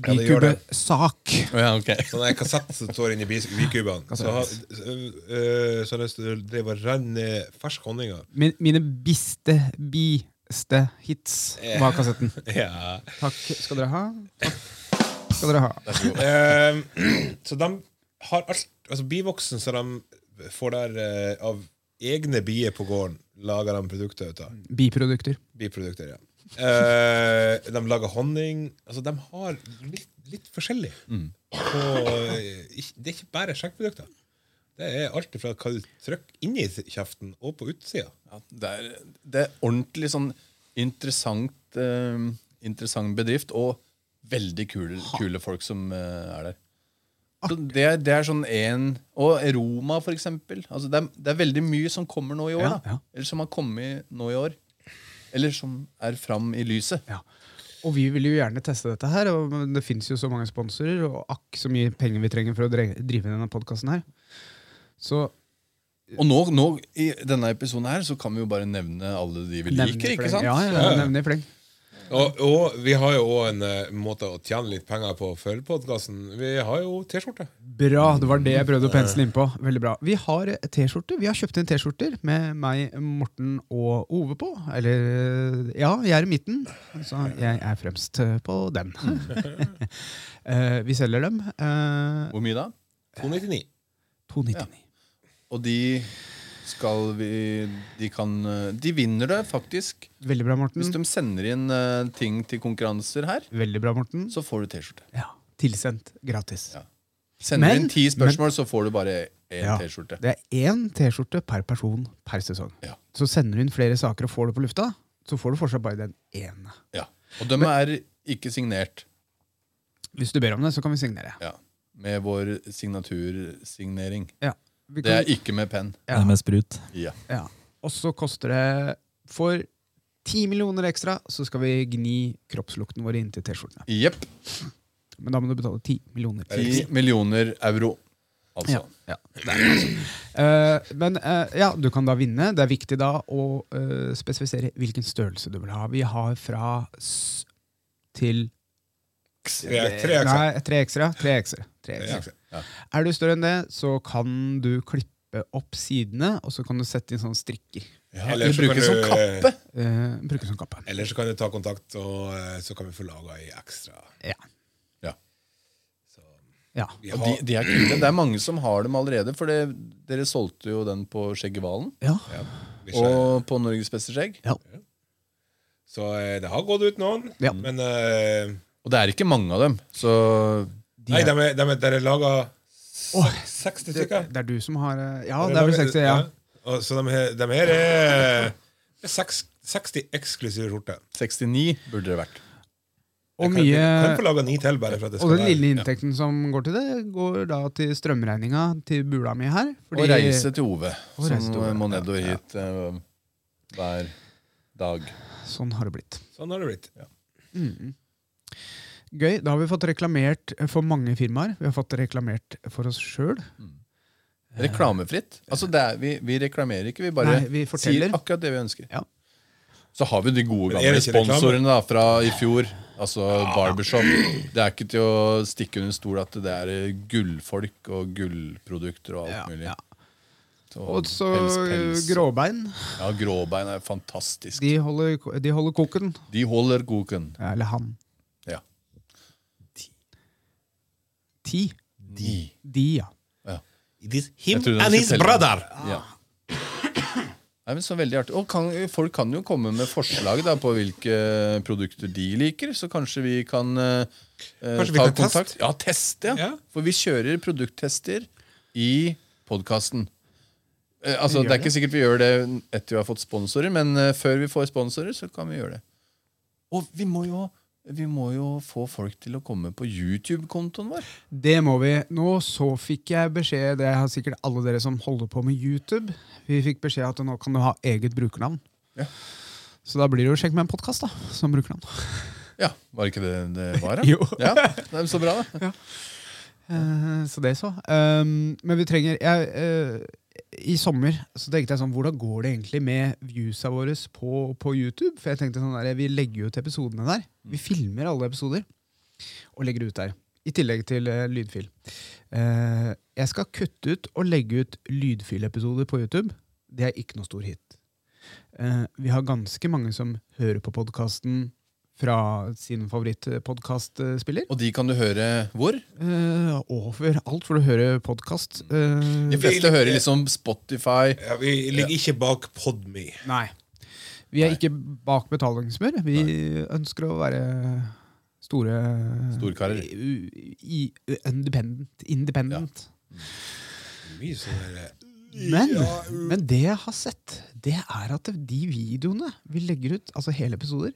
Ja, det gjør det. Sak. Å ja, ok. Sånn en kassett som står inni bis- bikubene. Så, ha- eh, så de drev og rønn eh, fersk honning av. Min, mine biste, biste hits var kassetten. Ja. Takk skal dere ha. Takk skal dere ha. Eh, så de har alt Altså Bivoksen som de får der eh, av egne bier på gården, lager de produkter ut av. Biprodukter. Biprodukter, ja. Eh, de lager honning Altså, de har litt, litt forskjellig. Og, eh, ikk- det er ikke bare skjeggprodukter. Det er alt fra hva du trykker inni kjeften og på utsida. Ja, det, er, det er ordentlig sånn interessant, eh, interessant bedrift, og veldig kule, kule folk som eh, er der. Så det, er- det er sånn en Og Roma, for eksempel. Altså det, er, det er veldig mye som kommer nå i år. Ja, da. ja. Eller som har kommet nå i år. Eller som er fram i lyset. Ja. Og vi vil jo gjerne teste dette her, og men det fins jo så mange sponsorer, og akk så mye penger vi trenger for å dre- drive denne podkasten her. Så Og nå, nå i denne episoden her så kan vi jo bare nevne alle de vi nevner liker. fleng. ikke sant? Ja, ja, ja, nevner fleng. Og, og vi har jo òg en eh, måte å tjene litt penger på for podkasten. Vi har jo T-skjorte. Bra, det var det jeg prøvde å pensle innpå. Veldig bra. Vi har T-skjorter. Vi har kjøpt inn T-skjorter med meg, Morten og Ove på. Eller Ja, jeg er i midten, så jeg er fremst på den. Eh, Vi selger dem. eh, Hvor mye da? 299. 299. Og de skal vi De kan eh, De vinner det faktisk. Veldig bra, Hvis de Morten. sender inn eh, ting til konkurranser her, Veldig bra, Morten. så får du T-skjorte. Ja, Tilsendt gratis. Ja. Sender Men- du inn ti spørsmål, så får du bare én Ja. T-skjorte. Det er én T-skjorte per person per sesong. Ja. Så sender du inn flere saker og får det på lufta, så får du fortsatt bare den ene. Ja. Og de er ikke signert. Hvis du ber om det, så kan vi signere. Ja. Med vår signatursignering. Ja. Vi Det kan, er ikke med penn. Ja. Det er med sprut. Ja. ja. Og så koster det for ti millioner ekstra, så skal vi gni kroppslukten vår inntil T-skjortene. Jepp. Men da må du betale ti millioner. Ti millioner euro. Altså. Ja. Ja. Det er det. Eh, men eh, ja, du kan da vinne. Det er viktig da å eh, spesifisere hvilken størrelse du vil ha. Vi har fra s til Tre, tre ekstra. Nei, tre ekstra. Tre ekstra. Tre Tre ekstra. ekstra. Er du større enn det, så kan du klippe opp sidene, og så kan du sette inn sånne strikker. Ja, Eller det så kan brukes som du- kappe. Eh, bruke som kappe. Eller så kan du ta kontakt, og eh, så kan vi få laga ei ekstra. Ja. Ja. Så ja. vi Og de, har, de er kule. Det er mange som har dem allerede, for det, dere solgte jo den på Skjeggevalen. Ja. vi skjønner. Og på Norges beste skjegg. Ja. Så eh, det har gått ut noen, Ja. men eh, Og det er ikke mange av dem, så De Nei, er- de er, de er, der er laga Åh, 60 det, stykker. det er du som har eh, Ja, det er vel laget- 60, ja. Og, så de, her- de her er, er seks- 60 eksklusive skjorter. 69 burde det vært. Og Jeg mye Kan, kan få laga ni til, bare for at det Og skal den lille inntekten som går til det, går da til strømregninga til bula mi her. fordi- Og reise til Ove, Og reise til som Ove, må ja, nedover hit eh, hver dag. Sånn har det blitt. Sånn har det blitt. Mm. Gøy. Da har vi fått reklamert for mange firmaer. Vi har fått reklamert for oss sjøl. Reklamefritt. Altså det er, vi, vi reklamerer ikke, vi bare Nei, vi forteller. sier akkurat det vi ønsker. Ja. Så har vi de gode gamle Men er det ikke reklame? sponsorene da, fra i fjor. Altså Barbershop. Det er ikke til å stikke under stol at det er eh, gullfolk og gullprodukter og alt Ja, mulig. ja. Så Og så pels, pels. Gråbein. Ja, Gråbein er fantastisk. De holder, de holder koken. De holder koken. Eller han. Ja. Ti. De. De, ja. It is Jeg him trodde and den his skulle telle. brother! Ja. Nei, men så veldig artig. Og kan, folk kan jo komme med forslag da, på hvilke eh, produkter de liker, så kanskje vi kan eh, eh, Kanskje vi ta kan teste? kontakt. Ja, teste. Ja. Ja. For vi kjører produkttester i podkasten. Eh, Vi altså, gjør det er ikke sikkert vi gjør det etter vi har fått sponsorer, men eh, før vi får sponsorer, så kan vi gjøre det. Og vi må jo, vi må jo få folk til å komme på YouTube-kontoen vår. Det må vi. Nå så fikk jeg beskjed, det har sikkert alle dere som holder på med YouTube, vi fikk beskjed at nå kan du ha eget brukernavn. Ja. Så da blir det jo Sjekk med en podkast som brukernavn. Ja, Var ikke det det var? da? Jo. Ja, det er Så bra, da. Eh, så det så. Um, men vi trenger jeg, eh, I sommer så tenkte jeg sånn Hvordan går det egentlig med viewsa våre på, på YouTube? For jeg tenkte sånn der, Vi legger jo ut episodene der. Vi filmer alle episoder og legger det ut der. I tillegg til eh, lydfil. Eh, jeg skal kutte ut og legge ut lydfilepisoder på YouTube. Det er ikke noe stor hit. Eh, vi har ganske mange som hører på podkasten fra sin favorittpodkastspiller. Og de kan du høre hvor? Uh, overalt hvor du hører podkast. De Eh, fleste hører liksom Spotify. Ja, vi ligger ikke bak Podme. nei. Vi er ikke bak betalingsmør. Vi ønsker å være store Storkarer. u- i- Independent. independent. Mye sånn der, eh, Men, men det jeg har sett, det er at de videoene vi legger ut, altså hele episoder,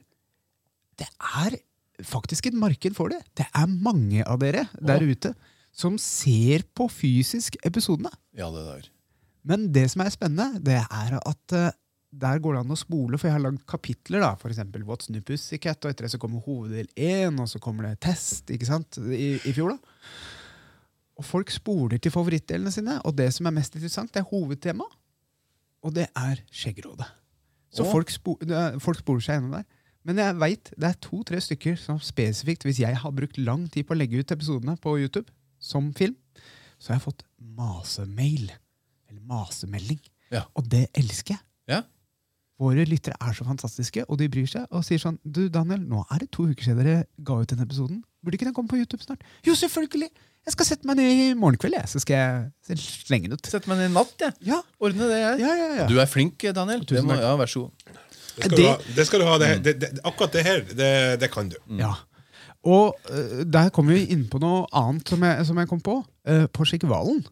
det er faktisk et marked for det. Det er mange av dere der ute som ser på fysisk episodene. Ja, det der. Men det som er spennende, det er at eh, der går det an å spole, for jeg har lagd kapitler. da, for eksempel What's New Pussycat, og etter det så kommer hoveddel én, og så kommer det test ikke sant, i, i fjor. da. Og folk spoler til favorittdelene sine, og det som er mest interessant, det er hovedtema, og det er skjeggerådet. Så Å. folk, spo, eh, folk spoler seg gjennom der. Men jeg vet, det er to-tre stykker som spesifikt, hvis jeg har brukt lang tid på å legge ut episodene på YouTube som film, så har jeg fått masemail. Eller masemelding. Ja. Og det elsker jeg. Ja. Våre lyttere er så fantastiske, og de bryr seg og sier sånn Du, Daniel, nå er det to uker siden dere ga ut den episoden. Burde ikke den komme på YouTube snart? Jo, selvfølgelig! Jeg skal sette meg ned i morgen kveld, jeg, så skal jeg slenge den ut. Sett meg ned i natt, jeg. Ja, Ordne det, jeg. ja, ja, ja. Du er flink, Daniel. Det Tusen må, takk. ja, vær så god. Det skal, Det- du ha. Det skal du ha. Det, Mm. det, det, akkurat det her, det, det kan du. Ja. Og eh, der kommer vi inn på noe annet som jeg, som jeg kom på. Eh, på Skikkevalen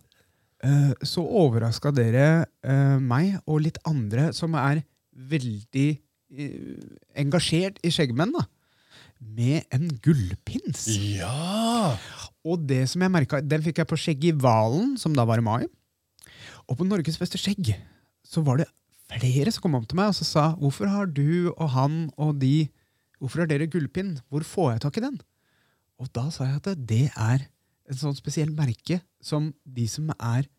eh, så overraska dere eh, meg og litt andre som er veldig eh, engasjert i skjeggmenn, da, med en gullpins. Ja! Og det som jeg merket, den fikk jeg på skjegg i Valen, som da var i mai. Og på Norges beste skjegg så var det flere som kom opp til meg og så sa hvorfor har du og han og de Hvorfor har dere gullpinn? Hvor får jeg tak i den? Og da sa jeg at det er en sånn spesiell merke som de som er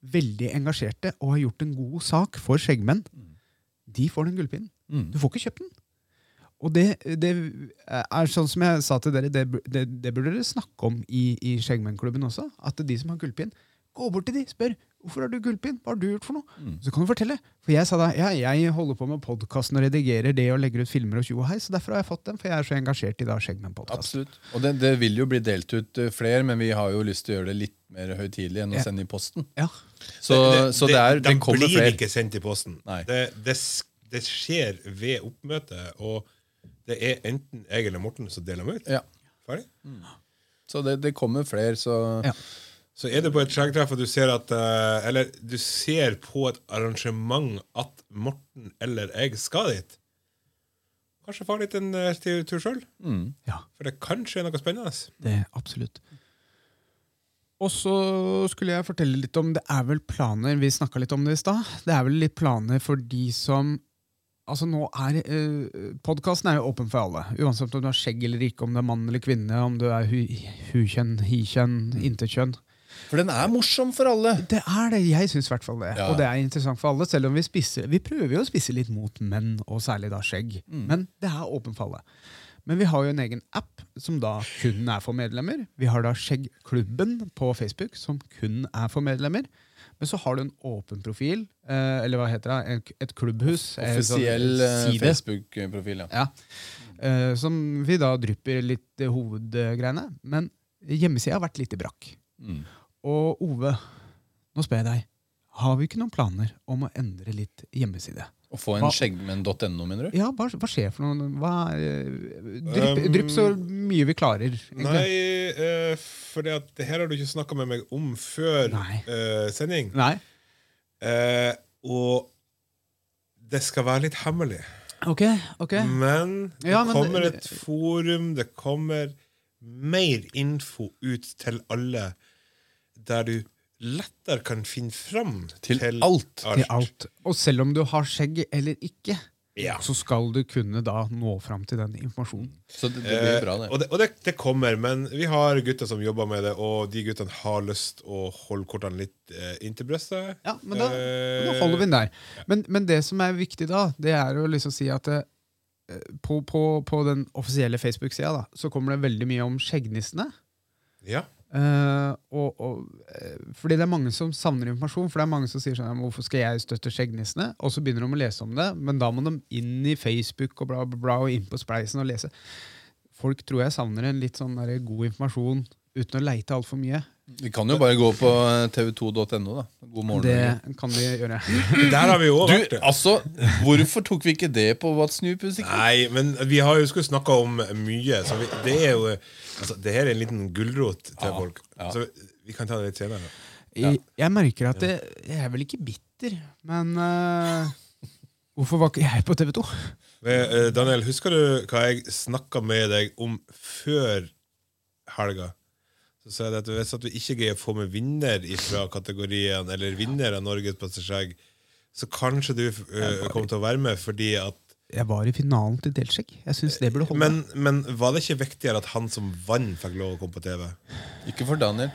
veldig engasjerte og har gjort en god sak for skjeggmenn, de får den gullpinnen. Mm. Du får ikke kjøpt den. Og det, det er sånn som jeg sa til dere, det, bu- det, det burde dere snakke om i, i Skjeggmennklubben også. At de som har gullpinn, gå bort til de, spør hvorfor har du gullpinn, hva har du gjort for noe? Mm. Så kan du fortelle. For jeg sa da ja, jeg holder på med podkasten og redigerer det og legger ut filmer og tjo og hei, så derfor har jeg fått den, for jeg er så engasjert i da Skjeggmennpodkast. Absolutt. Og det, det vil jo bli delt ut eh, flere, men vi har jo lyst til å gjøre det litt mer høytidelig enn å Ja. sende i posten. Ja. Så, så det er, den kommer blir flere. ikke sendt i posten. Nei. Det, det, s- det skjer ved oppmøtet, og det er enten jeg eller Morten som deler dem ut. Ja. Ferdig. Så det, det kommer flere, så Ja. Så er det på et skjeggtreff, og du ser at eh, Eller du ser på et arrangement at Morten eller jeg skal dit. Kanskje få litt en eh, til tur sjøl, ja. for det kan skje noe spennende. Det, absolutt. Og så skulle jeg fortelle litt om Det er vel planer Vi snakka litt om det i stad. Det er vel litt planer for de som Altså nå er eh, Podkasten er jo åpen for alle. Uansett om du har skjegg eller ikke, om du er mann eller kvinne, om du er hu, hukjønn, hikjønn, intetkjønn. For den er morsom for alle! Det er det. Jeg syns i hvert fall det. Ja. Og det er interessant for alle, selv om vi spisser, vi prøver jo å spisse litt mot menn, og særlig da skjegg. Mm. Men det er åpen for alle. Men vi har jo en egen app som da kun er for medlemmer. Vi har da Skjeggklubben på Facebook som kun er for medlemmer. Men så har du en åpen profil, eh, eller hva heter det, En- et klubbhus. eh, sånn Offisiell eh, side. Facebook-profil, ja. Ja. Eh, som vi da drypper litt eh, hovedgreiene. Men hjemmesida har vært litt i brakk. Mm. Og Ove, nå spør jeg deg. Har vi ikke noen planer om å endre litt hjemmeside? Å få Hva- en skjeggmenn.no, mener du? Ja, hva, hva skjer for noe? Hva, eh, drypp, Um, drypp så mye vi klarer. egentlig. Nei, eh, for det, at, det her har du ikke snakka med meg om før Nei. eh, sending. Nei. Eh, og det skal være litt hemmelig. Ok, ok. Men det Ja, men- kommer et forum, det kommer mer info ut til alle, der du lettere kan finne fram Til alt. Til alt. Og selv om du har skjegg eller ikke, Ja. så skal du kunne da nå fram til den informasjonen. Så det, det blir bra, Eh, det. og det, og det, det kommer, men vi har gutter som jobber med det, og de guttene har lyst å holde kortene litt eh, inntil brystet. Ja, men da, men da holder vi den der. Men, men det som er viktig da, det er å liksom si at eh, på, på, på den offisielle Facebook-sida da, så kommer det veldig mye om skjeggnissene. Ja. Eh, og, og, eh, fordi det er mange som savner informasjon. For det er mange som sier sånn, "Ja, men hvorfor skal jeg støtte skjeggnissene? Og så begynner de å lese om det, men da må de inn i Facebook og bla, bla, bla, og inn på Spleisen og lese. Folk tror jeg savner en litt sånn der god informasjon uten å leite altfor mye. Vi kan jo bare gå på eh, tv2.no, da. God morgen. Norge. Det kan de gjøre. Der har vi jo også vært. Du, altså, hvorfor tok vi ikke det på What's New Music? Nei, men vi har jo skulle snakka om mye. Så vi, det er jo altså, Det her er en liten gulrot til folk. Så vi, vi kan ta det litt senere. Jeg, jeg merker at det, jeg er vel ikke bitter, men eh, hvorfor var ikke jeg på TV 2? Men, eh, Daniel, husker du hva jeg snakka med deg om før helga? Så sa jeg at hvis at vi ikke greier å få med vinner fra kategorien, eller vinner av Norges beste skjegg, så kanskje du eh, kommer til å være med fordi at Jeg var i finalen til Deltsjekk. Jeg syns det burde holde. men, men var det ikke viktigere at han som vant, fikk lov å komme på TV? Ikke for Daniel.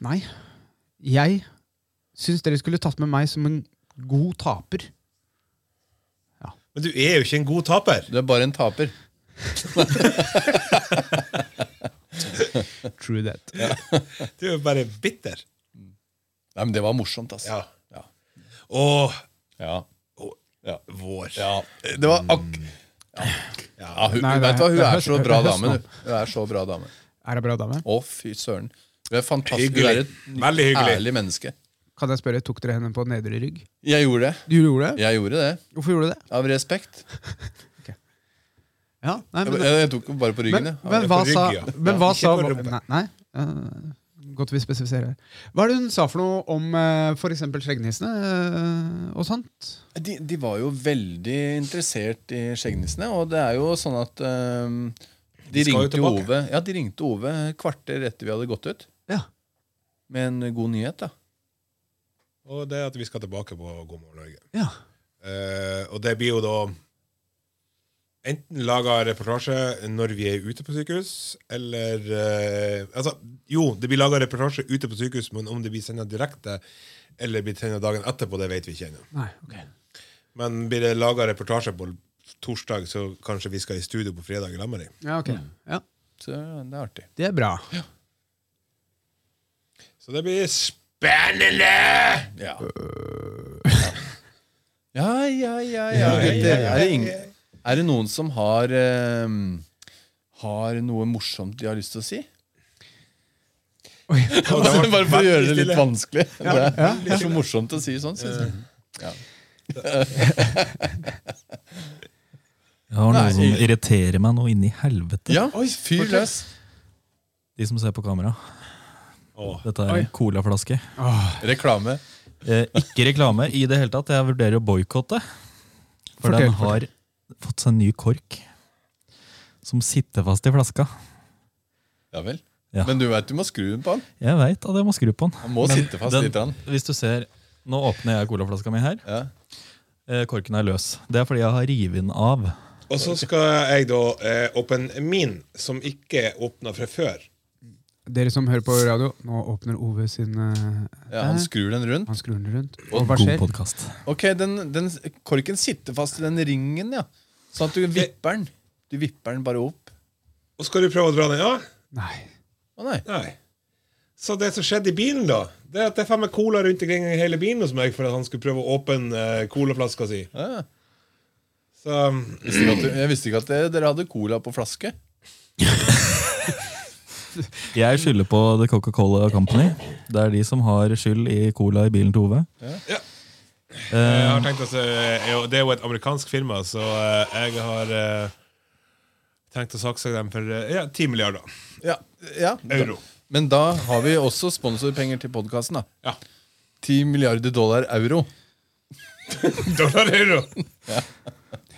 Nei. Jeg syns dere skulle tatt med meg som en god taper. Men du er jo ikke en god taper! Du er bare en taper. True that. Du er jo bare bitter. Nei, men det var morsomt, altså. Ja. Ja. Og Ja. og- Ja. vår. Ja. Det var akk... Ja. Ja, hun, Nei, hun det er- vet hva, hun det er er høst- så det er bra høst dame, nå. du. Hun er så bra dame. Er det bra, dame? Å, fy søren. Hun er fantastisk. Hun er Hyggelig. et Veldig hyggelig. ærlig menneske. Kan jeg spørre, Tok dere henne på nedre rygg? Jeg gjorde det. Du gjorde det? Jeg gjorde det. Hvorfor gjorde du det? Av respekt. Ja, nei, Jeg, men, jeg, jeg tok henne bare på men, ryggen, jeg. men hva på rygg, sa, ja. men hva Ikke sa på rumpa. Nei, nei eh, godt vi spesifiserer. Hva er det hun sa for noe om eh, for f.eks. skjeggnissene eh, og sånt? De, de var jo veldig interessert i skjeggnissene, og det er jo sånn at øhm, de, De skal jo ringte tilbake. Ove, ja, de ringte Ove et kvarter etter vi hadde gått ut, Ja. med en god nyhet. da. Og det at vi skal tilbake på God morgen Norge. ja. Eh, og det blir jo da enten laga reportasje når vi er ute på sykehus, eller eh, Altså, jo, det blir laga reportasje ute på sykehus, men om det blir sendt direkte eller blir sendt dagen etterpå, det vet vi ikke ennå. Nei, ok. Men blir det laga reportasje på torsdag, så kanskje vi skal i studio på fredag i lag med dem. Ja, ok. Ja, Så det er artig. det er bra. Så det blir spennende! Ja, ja, ja, ja. ja, gutter. Er, det ingen, er det noen som har øhm, har noe morsomt de har lyst til å si? Og det ble Bare for å gjøre det litt veldig vanskelig. Det er, det er så morsomt å si sånn, syns Eh, jeg. Jeg har noe Nei. som irriterer meg nå inni helvete. Ja, fyr løs. De som ser på kamera. Åh. Dette er en colaflaske. Reklame. Eh, ikke reklame i det hele tatt. Jeg vurderer å boikotte. For Fortell, den har fått seg en ny kork som sitter fast i flaska. Ja vel. Ja. Men du veit du må skru den på den. Jeg veit at jeg må skru på den. Han må sitte fast den- litt. Han. Hvis du ser, Nå åpner jeg colaflaska mi her. Ja. Eh, korken er løs. Det er fordi jeg har revet den av. Og så skal jeg da eh, åpne min, som ikke er åpna fra før. Dere som hører på radio, nå åpner Ove sin eh, Ja, han skrur den rundt. Han skrur den rundt. Og Og hva God skjer? podkast. Ok, den, den Korken sitter fast i den ringen, ja. Sånn at du vipper den. Du vipper den bare opp. Og skal du prøve å dra den av? Nei. Å nei. Nei. Så det som skjedde i bilen, da, det er at det er faen meg cola rundt omkring i hele bilen hos meg for at han skulle prøve å åpne eh, colaflaska si. Ja. Så Jeg visste ikke at, du- jeg visste ikke at dere, dere hadde cola på flaske. Jeg skylder på The Coca-Cola Company. Det er de som har skyld i cola i bilen til Ove. jeg har tenkt altså, eh, jo, Det er jo et amerikansk firma, så eh, jeg har eh, tenkt å saksøke dem for eh, ja, 10 milliarder Ja, ja. euro. Men da har vi også sponsorpenger til podkasten. Ja. 10 milliarder dollar euro. Dollar euro!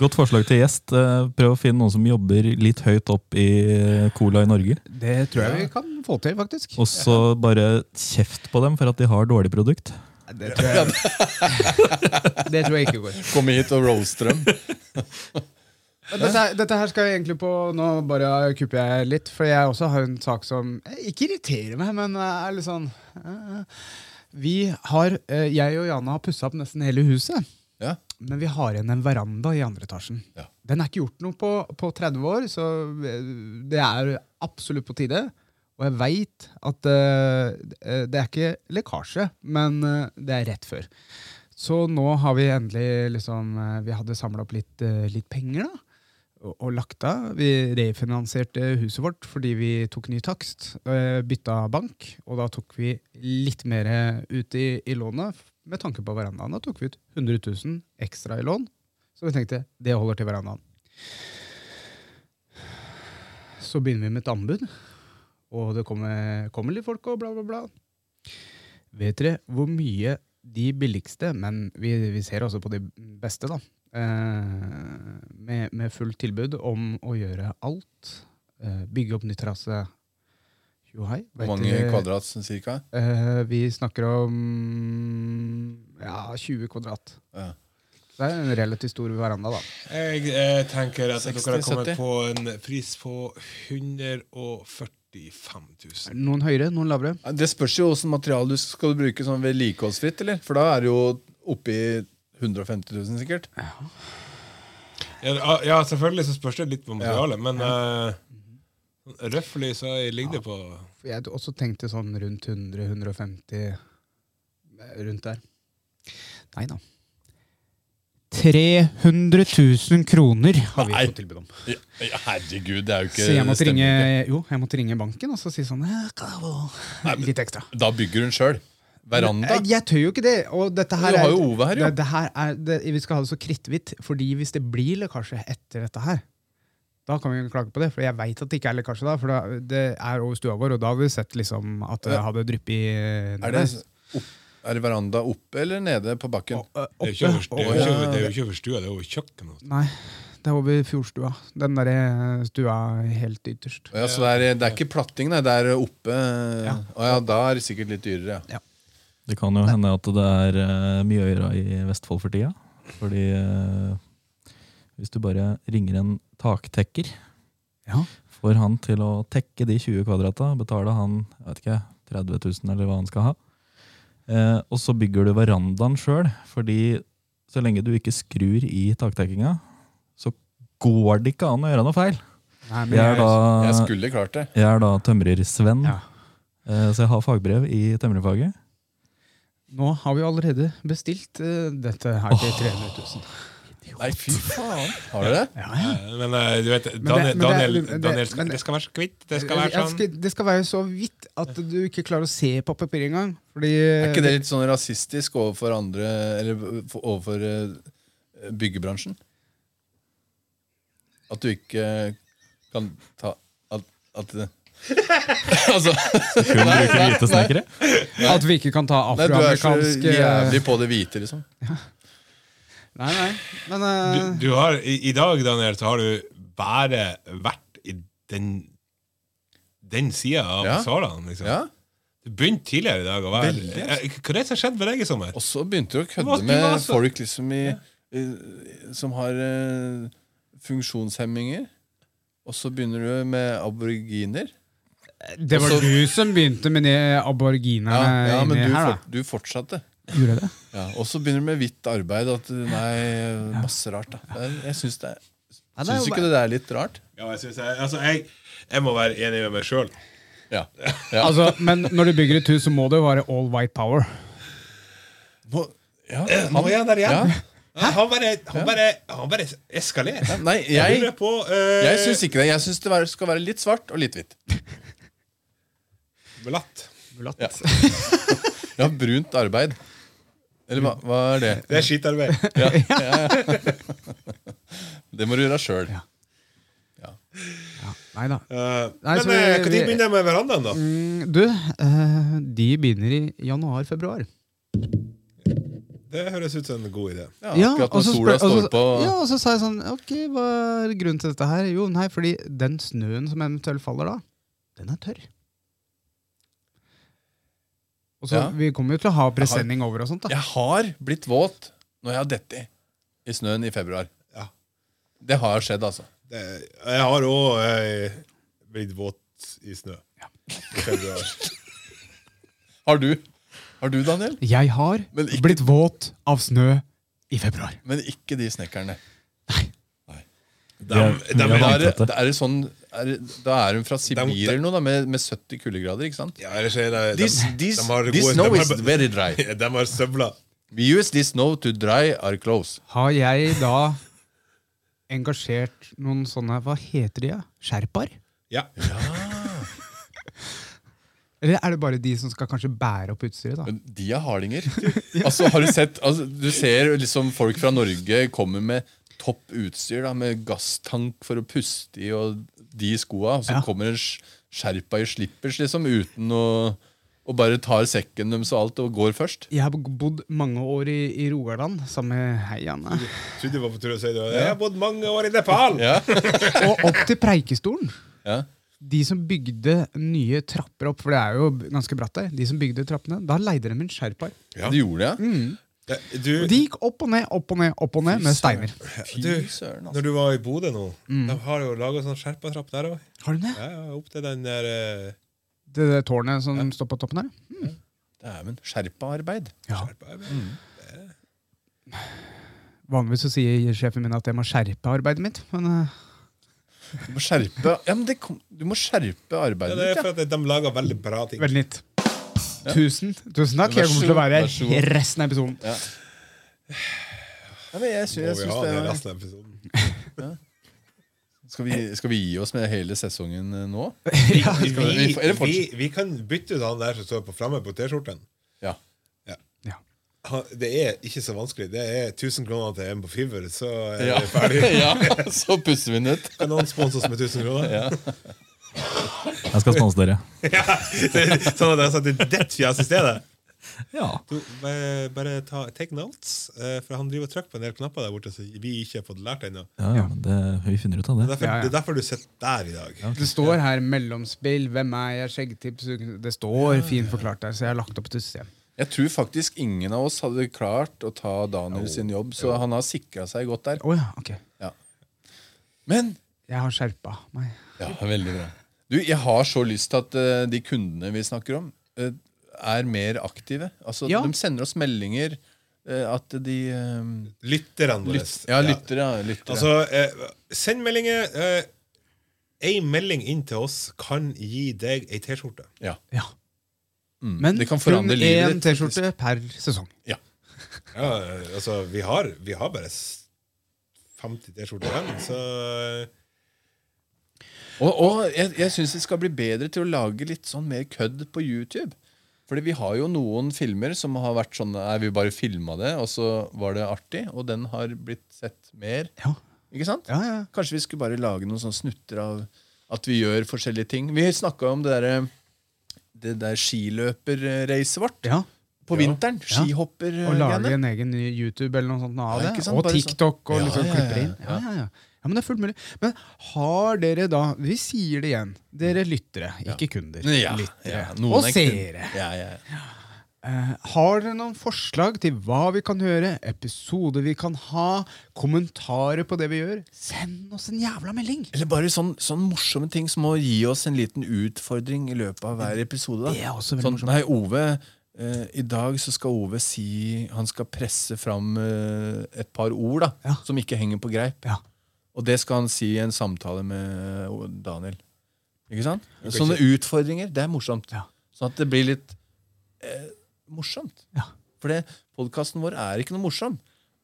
Godt forslag til gjest. Eh, Prøv å finne noen som jobber litt høyt opp i eh, cola i Norge. Det tror jeg vi kan få til, faktisk. Og så bare kjeft på dem for at de har dårlig produkt. Det tror jeg, det tror jeg ikke går. Komme hit og roaste dem. Dette, her- dette her skal jeg egentlig på Nå bare kupper jeg litt, for jeg også har en sak som eh, ikke irriterer meg, men eh, er litt sånn eh, Vi har, eh, Jeg og Jana har pussa opp nesten hele huset, Ja. men vi har igjen en veranda i andre etasjen. Ja. Den er ikke gjort noe på, på 30 år, så eh, det er absolutt på tide. Og jeg veit at eh, det er ikke lekkasje, men eh, det er rett før. Så nå har vi endelig liksom eh, Vi hadde samla opp litt, eh, litt penger, da. Og, og lagt av. Vi refinansierte huset vårt fordi vi tok ny takst. eh, Bytta bank. Og da tok vi litt mer ut i, i lånet med tanke på verandaen. Da tok vi ut 100 000 ekstra i lån. Så vi tenkte det holder til verandaen. Så begynner vi med et anbud, og det kommer, kommer litt folk og bla, bla, bla. Vet dere hvor mye de billigste, men vi, vi ser også på de beste, da, eh, med, med fullt tilbud om å gjøre alt, eh, bygge opp ny terrasse, Tjuhai? Hvor mange kvadrat sånn cirka? Eh, vi snakker om ja, 20 kvadrat. Ja. Det er en relativt stor veranda, da. Jeg eh, tenker at dere har 60-70. kommet på en pris på 145 000. Noen høyere, noen lavere. Ja, Det spørs jo åssen materiale du skal du bruke sånn vedlikeholdsfritt, eller? For da er det jo oppi 150 000, sikkert. Ja, ja, selvfølgelig så spørs det litt på materialet, men eh, sånn røffelig så ligger det på For Jeg også tenkte sånn rundt 100-150 eh, rundt der. Nei da. 300 000 kroner har vi Nei. fått tilbud om. Ja, ja, herregud, det er jo ikke Så jeg måtte, det stemmer ringe, ikke. jo, jeg måtte ringe banken og så si sånn eh, hva- Litt ekstra. Eh, Da bygger hun sjøl. Veranda. Jeg, jeg tør jo ikke det. Og dette her Du har er- jo Ove her, jo. Det, det her er, det, vi skal ha det så kritthvitt, Fordi hvis det blir lekkasje etter dette her, da kan vi jo klage på det. For jeg veit at det ikke er lekkasje da, for da, det er over stua vår, og da hadde vi sett liksom at det hadde dryppet i- Er det, opp, er det veranda oppe eller nede på bakken? Ø, Det er jo ikke over- det oppe. er jo ikke over- det er jo ikke over stua, det er over kjøkkenet. Nei, det er over fjordstua. Den derre stua helt ytterst. Å ja, så det er, det er ikke platting, nei, det er oppe. Ja. Å ja, da er det sikkert litt dyrere. ja. Det kan jo hende at det er eh, mye øyere i Vestfold for tida. Fordi eh, hvis du bare ringer en taktekker, Ja. får han til å tekke de 20 kvadrata, betaler han jeg vet ikke, 30 000 eller hva han skal ha. Eh, og så bygger du verandaen sjøl, fordi så lenge du ikke skrur i taktekkinga, så går det ikke an å gjøre noe feil. Nei, men Jeg er Jeg da, skulle klart det. jeg er da tømrer-Sven, Ja. eh, så jeg har fagbrev i tømrerfaget. Nå har vi allerede bestilt eh, dette her til 300 000. Nei, fy faen. Har dere det? Ja, ja. Eh, Men eh, du vet, det- Daniel, men det- Daniel, men det- Daniel skal, men- det skal være så kvitt. Det skal Jeg være sånn. skal- Det skal være så vidt at du ikke klarer å se på papiret engang. Fordi Er ikke det litt sånn rasistisk overfor andre Eller for- overfor eh, byggebransjen? At du ikke kan ta At, at det Altså Kun bruker hvite snekkere. At vi ikke kan ta Nei, du er så afroamerikansk eh, jævlig på det hvite, liksom. Nei, nei. Men eh, Du, du har, i, I dag, Daniel, så har du bare vært i den, den sida av Ja. salene. Liksom. Ja. Du begynte tidligere i dag å være Veldig, Eh, Hva er det som skjedde med deg i sommer? Og så begynte du å Du var- kødde du med var så- folk liksom i, i- som har eh, funksjonshemminger. Og så begynner du med aboriginer. det var også- du som begynte med de aborginerne Ja, ja men inni du, her, fort, du fortsatte. da. Gjorde det? Ja, og så begynner du med hvitt arbeid. At, nei, masse rart. Da. Jeg, jeg syns det er Ja, det er Syns jo ikke det der er litt rart? Ja, jeg, synes jeg, altså, jeg, jeg må være enig med meg sjøl. Ja. bare- Altså, men når du bygger et hus, så må det jo være all white power. Må, ja. Nå er jeg der igjen. Ja. Han bare, han bare, han bare eskalerer. Nei, jeg, lurer på eh, jeg syns ikke det. Jeg syns det være- skal være litt svart og litt hvitt. Blatt. Ja. ja, brunt arbeid. Eller hva, hva er det? Det er skitarbeid. Det må du gjøre sjøl. Nei da. Eh, Nei, så men vi- eh, når vi- begynner jeg med verandaen, da? Mm, Du, eh, de begynner i januar-februar. Det høres ut som en god idé. Ja, akkurat når sola står på. ja, og så sa jeg sånn Ok, hva er grunnen til dette her? Jo, nei, fordi den snøen som eventuelt faller da, den er tørr. Og så, Ja. Vi kommer jo til å ha presenning over og sånt. da Jeg har blitt våt når jeg har dette i, i snøen i februar. Ja. Det har skjedd, altså. Det, jeg har òg eh, blitt våt i snø. I februar. Har du? Har du, Daniel? Jeg har Men ikke- blitt våt av snø i februar. Men ikke de snekkerne. Dem- Vi er- dem vi Da er er, det, vant til det. da er, det sånn, er, det- da er hun fra De- Sibir eller noe, da, med, med 70 kuldegrader, ikke sant? Ja, ellers er det This, de- this, de har this gode- snow de is har, very dry. De har støvler. We use this snow to dry our clothes. Har jeg da engasjert noen sånne Hva heter de? Ja? Sherpaer? Ja. Eller er det bare de som skal kanskje bære opp utstyret? da? Men de er hardinger. Altså, har du sett altså, Du ser liksom folk fra Norge kommer med topp utstyr, da, med gasstank for å puste i og de skoa, og så Ja. kommer en sk- sherpa i slippers liksom uten å Og bare tar sekken deres og alt og går først. Jeg har bodd mange år i, i Rogaland sammen med Hei, Janne. Trodde jeg var på tur til å si det. Jeg har bodd mange år i Nepal! Ja. Og opp til Preikestolen. Ja. de som bygde nye trapper opp, for det er jo b- ganske bratt der, de som bygde trappene, da leide de en sherpaer. Ja. Du gjorde det? ja? Mm. Eh, Du, Og de gikk opp og ned, opp og ned, opp og ned med steiner. du, Fy søren, altså. når du var i Bodø nå, Mm. de har jo laga sånn skjerpatrapp der òg. Har du det? Ja, ja, opp til den der eh, Det, det tårnet som står på toppen her? Dæven. Skjerpaarbeid. Ja. skjerpa. Mm. Vanligvis så sier sjefen min at jeg må skjerpe arbeidet mitt, men eh, Du må skjerpe ja, men det kom, Du må skjerpe Ja, arbeidet det er ditt, ja. for at de lager veldig bra ting. veldig nytt. Tusen, tusen takk. Jeg Vær så kommer til å god, være vær så her god. he- resten av episoden. ja men jeg, sy- Må jeg vi syns ha det det i er resten av episoden? skal vi, skal vi gi oss med hele sesongen eh, nå? Vi, vi, vi- eller vi, fortsett. vi kan bytte ut han der som står på framme på T-skjorten. Ja. Ja. Han- Det er ikke så vanskelig. Det er 1000 kroner til en på Fiverr, så er Ja. vi ferdig. ja, så pusser vi den ut. Kan noen sponse oss med 1000 kroner? Jeg skal sponse dere. Sånn at jeg satt i ditt fjes i stedet? Ja. Du, bare, bare ta, take notes, eh, for han driver og trykker på en del knapper der borte som vi ikke har fått lært ennå. Det, ja, ja det, vi finner ut er av det. derfor- Ja, ja. det er derfor du sitter der i dag. Det står her 'mellomspill', 'hvem er jeg', 'skjeggtips'. Det står fint forklart der, så jeg har lagt opp et system. Jeg tror faktisk ingen av oss hadde klart å ta Daniel sin jobb, så han har sikra seg godt der. Å ja, ok. Men Jeg har skjerpa meg. Ja, veldig bra. Du, jeg har så lyst til at eh, de kundene vi snakker om, eh, er mer aktive. Altså, Ja. De sender oss meldinger eh, at de eh, Lytterne våre. lyt, Ja, lyttere. ja, lyttere. Altså, eh, send meldinger. Eh, Ei melding inn til oss kan gi deg ei T-skjorte. ja. Ja. Mm. Men det kan forandre livet én ditt. T-skjorte per sesong. Ja, eh, altså, vi har, vi har bare s- 50 T-skjorter igjen, så eh, Og, og jeg, jeg syns vi skal bli bedre til å lage litt sånn mer kødd på YouTube. Fordi vi har jo noen filmer som har vært sånn Nei, vi bare filma det, og så var det artig. Og den har blitt sett mer. Ja. Ikke sant? Ja, ja. Kanskje vi skulle bare lage noen sånne snutter av at vi gjør forskjellige ting. Vi snakka om det der, det der skiløperracet vårt ja. på vinteren. Ja. skihopper Og lage greiene. en egen ny YouTube eller noe sånt av Ja, det. ikke sant? Og Bare sånn. TikTok. og Ja, liksom ja, ja, klipper inn. Ja, ja. ja, ja. ja, men det er fullt mulig. Men har dere da Vi sier det igjen. Dere lyttere, ikke kunder. Ja, lyttere. ja, noen og er kun- seere. Ja, ja, ja. Eh, har dere noen forslag til hva vi kan gjøre, episoder vi kan ha, kommentarer på det vi gjør? Send oss en jævla melding! Eller bare sånn, sånn morsomme ting som å gi oss en liten utfordring i løpet av hver episode. Da. Det er også veldig Sånn, morsomt. nei, Ove eh, I dag så skal Ove si Han skal presse fram eh, et par ord da Ja. som ikke henger på greip. Ja. Og det skal han si i en samtale med eh, Daniel. Ikke sant? kan Sånne utfordringer. Det er morsomt. Ja. Sånn at det blir litt eh, morsomt. Ja. For podkasten vår er ikke noe morsom.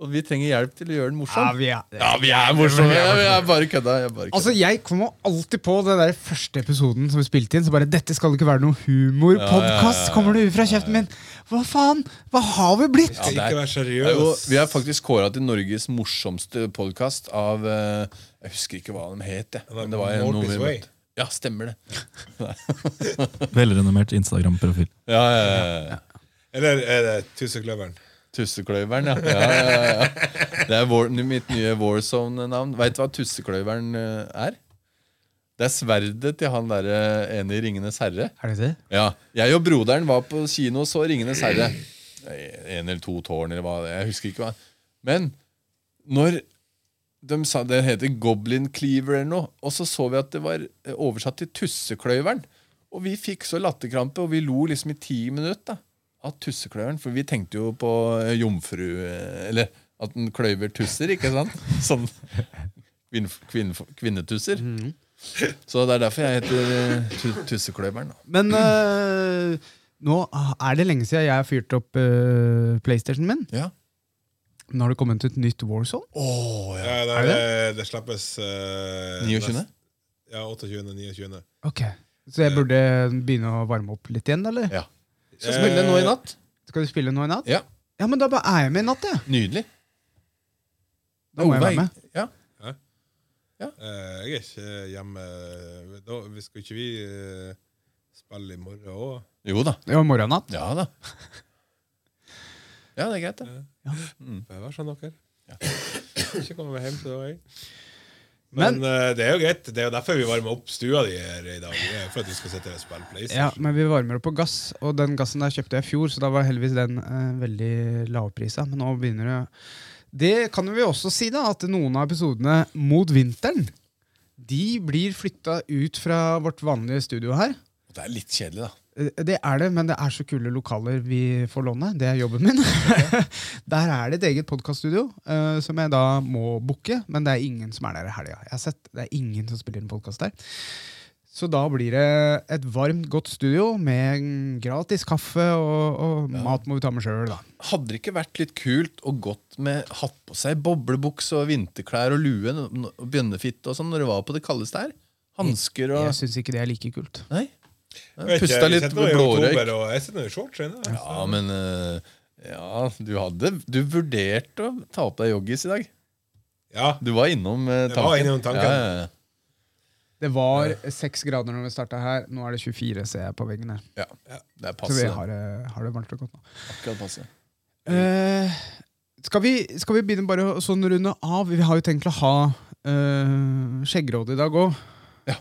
Og vi trenger hjelp til å gjøre den Ja, morsom. vi er, vi er morsomme! Ja, vi er bare kødda. Jeg, er bare kødda. Altså, jeg kommer alltid på den der første episoden som vi spilte inn. Så bare, dette skal ikke være noen humorpodkast, kommer det ut fra kjeften min. Hva faen? Hva har vi blitt? skal det er- ikke være Det er jo, seriøs. vi er faktisk kåra til Norges morsomste podkast av eh, Jeg husker ikke hva de het. jeg, Men det var en- Morpheus noe vi Way. møtte. Ja, stemmer det. Velrenommert Instagram-profil. Ja, ja, ja, ja. Eller er det Tusenkløveren? Tussekløyveren, ja. ja, ja, ja. Det er vår, mitt nye Warzone-navn. Veit du hva Tussekløyveren eh, er? Det er sverdet til han derre ene i Ringenes herre. Er det det? Ja, Jeg og broderen var på kino og så Ringenes herre. En eller to tårn, eller hva. det- Jeg husker ikke hva. Men når de sa det heter Goblin Cleaver eller noe, og så så vi at det var eh, oversatt til Tussekløyveren. Og vi fikk så latterkrampe, og vi lo liksom i ti minutter da, av Tussekløyveren. For vi tenkte jo på eh, jomfru eh, Eller at den kløyver tusser, ikke sant? Sånn kvinn, kvinn, kvinnetusser. Så det er derfor jeg heter eh, tu- Tussekløyveren. da. Men øh, nå er det lenge siden jeg fyrte opp øh, PlayStationen min. Ja. Nå har det kommet ut nytt Warzone. Ja, det, Er det, det slappes eh, 29.? nest- Ja, 28. 29. Ok Så jeg burde begynne å varme opp litt igjen, eller? Ja. Skal spille nå i natt. Skal du spille nå i natt? Ja, Ja, men da bare er jeg med i natt, jeg. Nydelig. Da må jeg Ove, være med. Ja. Eh, jeg er ikke hjemme da, vi Skal ikke vi eh, spille i morgen òg? Jo da. Ja, morgennatt. Ja da. Ja, det er greit, det. Vær sånn, dere. Ikke komme hjem til deg. Men eh, det er jo greit. Det er jo derfor vi varmer opp stua di her i dag. Det er For at vi skal sitte her og spille PlayStation. Ja, men vi varmer opp på gass, og den gassen der kjøpte jeg i fjor, så da var heldigvis den eh, veldig lavprisa. Men nå begynner det Det kan vi også si, da, at noen av episodene mot vinteren de blir flytta ut fra vårt vanlige studio her. Det er litt kjedelig, da. Eh, Det er det, men det er så kule lokaler vi får låne. Det er jobben min. der er det et eget podkaststudio eh, som jeg da må booke, men det er ingen som er der i helga. Jeg har sett, det er ingen som spiller inn podkast der. Så da blir det et varmt, godt studio med gratis kaffe, og, og mat må vi ta med sjøl, da. Hadde det ikke vært litt kult og godt med hatt på seg boblebukse og vinterklær og lue n- n- og bjønnefitte og sånn når det var på det kaldeste her? Hansker og Jeg syns ikke det er like kult. Nei? Jeg vet ikke, Pusta vi litt sitter nå i oktober, blårøyk. og Jeg sitter nå i shorts inne. Ja, men eh, Ja, du hadde Du vurderte å ta på deg joggis i dag. Ja. Du var innom eh, Jeg tanken. var innom tanken. Ja, ja, ja. Det var seks grader når vi starta her. Nå er det 24, ser jeg på veggen her. Ja, det er Så vi passe. har, det- har det varmt og godt nå. Akkurat passe. Eh, skal, vi, skal vi begynne bare å sånn runde av? Vi har jo tenkt å ha eh, skjeggråd i dag òg. Ja.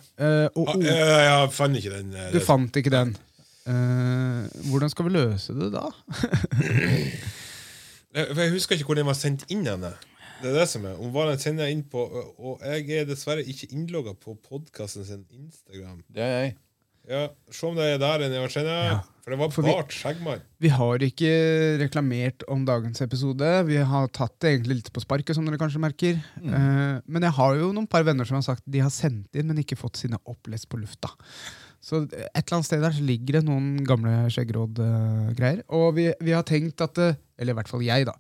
og Ah, ord- eh, Jeg fant ikke den. eh, Oh. du fant ikke den. Eh, hvordan skal vi løse det da? Eh, For Jeg husker ikke hvor den var sendt inn. Henne. Det er det som er. Hun var den sender jeg inn på, og jeg er dessverre ikke innlogga på podkasten sin Instagram. Det er jeg. Ja, Se om det er der den var sendt. Ja. For det var For vi- bart skjeggmann. Vi har ikke reklamert om dagens episode. Vi har tatt det egentlig litt på sparket, som dere kanskje merker. Eh, men jeg har jo noen par venner som har sagt de har sendt inn, men ikke fått sine opplest på lufta. Så et eller annet sted der så ligger det noen gamle skjeggråd-greier. og vi, vi har tenkt at eh, Eller i hvert fall jeg, da.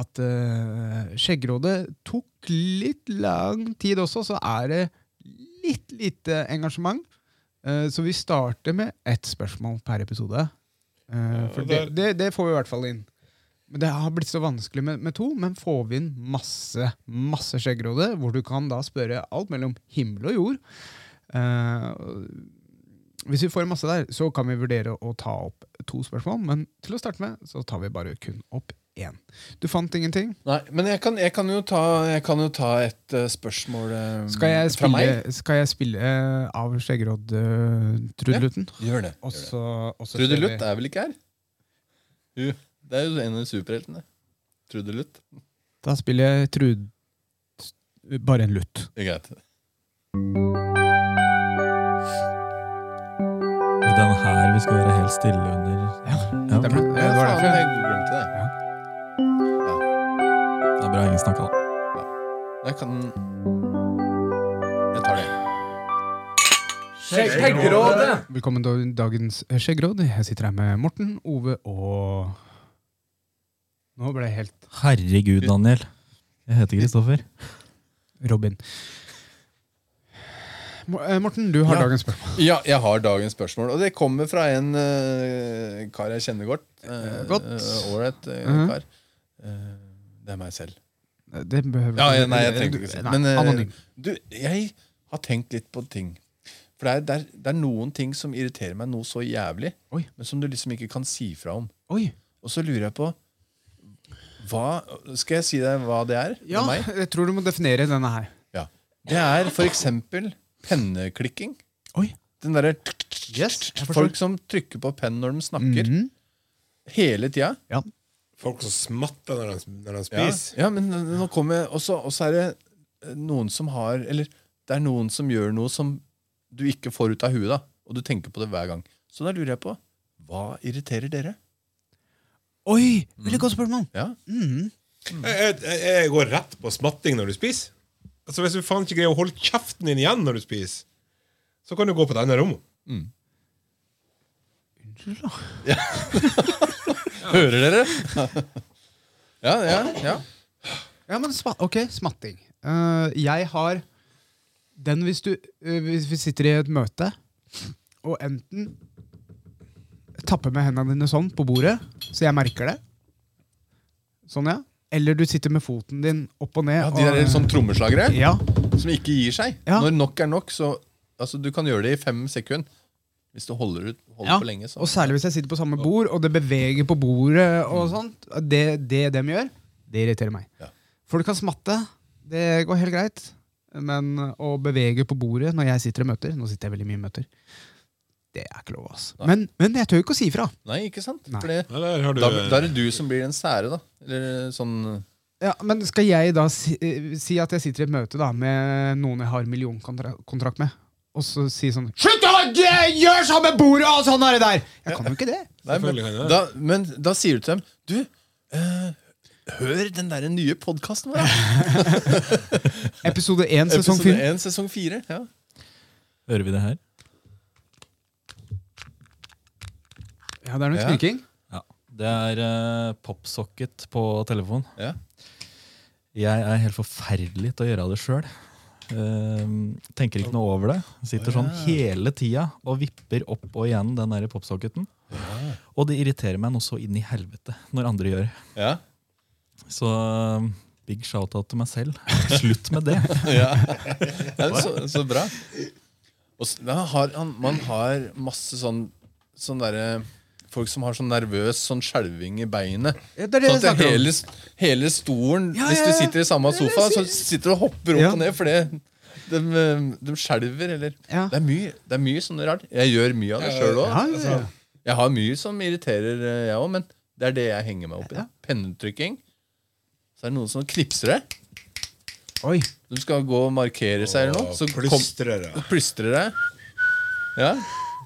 At eh, skjeggrådet tok litt lang tid også, så er det litt lite engasjement. Eh, så vi starter med ett spørsmål per episode. Eh, for og det, der- det, det får vi i hvert fall inn. Men Det har blitt så vanskelig med, med to, men får vi inn masse masse skjeggråde, hvor du kan da spørre alt mellom himmel og jord. Eh, hvis vi får masse der, så kan vi vurdere å ta opp to spørsmål, men til å starte med så tar vi bare kun opp én. Du fant ingenting? Nei, men jeg kan, jeg kan, jo, ta, jeg kan jo ta et eh, spørsmål eh, Skal jeg fra spille, meg. skal jeg spille eh, av Skjeggeråd-trudelutten? Gjør det. Og så og så ser vi- Trudelutt er vel ikke her? Jo, det er jo en av superheltene. Trudelutt. Da spiller jeg trud... Bare en lutt. Det er greit. Eh, Det er den her vi skal være helt stille under. Ja, ok. Stemmer det? Det var Ja, faen, derfor. jeg glemte det. Det er bra ingen snakka, da. Jeg kan Jeg tar det. Skjeggrådet! Velkommen til dagens skjeggråd. Jeg sitter her med Morten, Ove og Nå ble jeg helt Herregud, Daniel. Jeg heter Kristoffer. Robin. Mo- eh, Morten, du har Ja. dagens spørsmål. Ja, jeg har dagens spørsmål, og det kommer fra en eh, kar jeg kjenner godt. Eh, Godt. eh, Ålreit eh, Mhm. kar. Eh, det er meg selv. Det behøver Ja, ja, nei, jeg trengte ikke å si det. Nei, Men, eh, Anonym. Du, jeg har tenkt litt på ting. For det er, det, er, det er noen ting som irriterer meg noe så jævlig, Oi. men som du liksom ikke kan si fra om. Oi. Og så lurer jeg på hva, Skal jeg si deg hva det er? med Ja, Meg? jeg tror du må definere denne her. Ja. Det er for eksempel penneklikking. Oi. Den derre Yes, jeg forstår. Mm. Folk som trykker på penn når de snakker. Hele tida. Ja. Folk som smatter når de, når de Ja. spiser. ja, men nå kommer Og så og så er det eh, noen som har Eller det er noen som gjør noe som du ikke får ut av huet, da. Og du tenker på det hver gang. Så da lurer jeg på hva irriterer dere? Oi! Veldig godt spørsmål. Ja, Jeg, jeg, jeg går rett på smatting når du spiser. Altså Hvis du faen ikke greier å holde kjeften din igjen når du spiser, så kan du gå på det andre rommet. Hører dere? ja, ja, ja. Ja, men sma ok, smatting. Eh, jeg har den hvis du eh, Hvis vi sitter i et møte, og enten tapper med hendene dine sånn på bordet, så jeg merker det. Sånn, ja. Eller du sitter med foten din opp og ned. ja de der og, sånn trommeslagere ja. som ikke gir seg. Ja. Når nok er nok, så Altså, du kan gjøre det i fem sekunder. Hvis du holder ut holder Ja, for lenge. Så. Og særlig hvis jeg sitter på samme bord, og det beveger på bordet. og sånt Det, det dem gjør, det irriterer meg. Ja. Folk kan smatte. Det går helt greit. Men å bevege på bordet når jeg sitter i møter Nå sitter jeg veldig mye i møter. Det er ikke lov, altså. Men, men jeg tør jo ikke å si ifra. Nei, ikke sant? Nei. For det, Ja, der har du da, da er det du som blir den sære, da. Eller sånn Ja, men skal jeg da si, eh, si at jeg sitter i et møte da med noen jeg har millionkontrakt med, og så si sånn Slutt å gjø- gjøre sånn med bordet og sånn er det der! Jeg kan jo ikke det. Nei, men, Selvfølgelig kan jeg det. da, men da sier du til dem Du, eh, hør den der nye podkasten vår! da. Episode én, sesong Episode fire. 1, sesong 4. Ja. Hører vi det her? Ja, det er noe Ja. knirking. Ja. Det er eh, popsocket på telefon. Ja. Jeg er helt forferdelig til å gjøre det sjøl. tenker ikke noe over det. Sitter sånn hele tida og vipper opp og igjen den der popsocketen. Og det irriterer meg noe så inn i helvete når andre gjør det. Ja. Så eh, big shout-out til meg selv. Slutt med det. Ja, så, så bra. Og s- da har, han, man har masse sånn, sånn derre Folk som har sånn nervøs sånn skjelving i beinet. Ja, det er det sånn at jeg snakker om. hele, s- hele stolen Ja, Hvis ja, du ja. sitter i samme sofa, så sitter du og hopper opp Ja. og ned fordi de, eh, de skjelver, eller Ja. det, er mye, det er mye sånn rart. Jeg gjør mye av det sjøl òg. Ja, ja, ja. Altså, Jeg har mye som irriterer, eh, jeg òg, men det er det jeg henger meg opp i. da. Pennetrykking. Så er det noen som knipser deg. Oi. Du skal gå og markere seg, eller noe. Så kom- Plystrer, ja. og plystrer deg. Ja.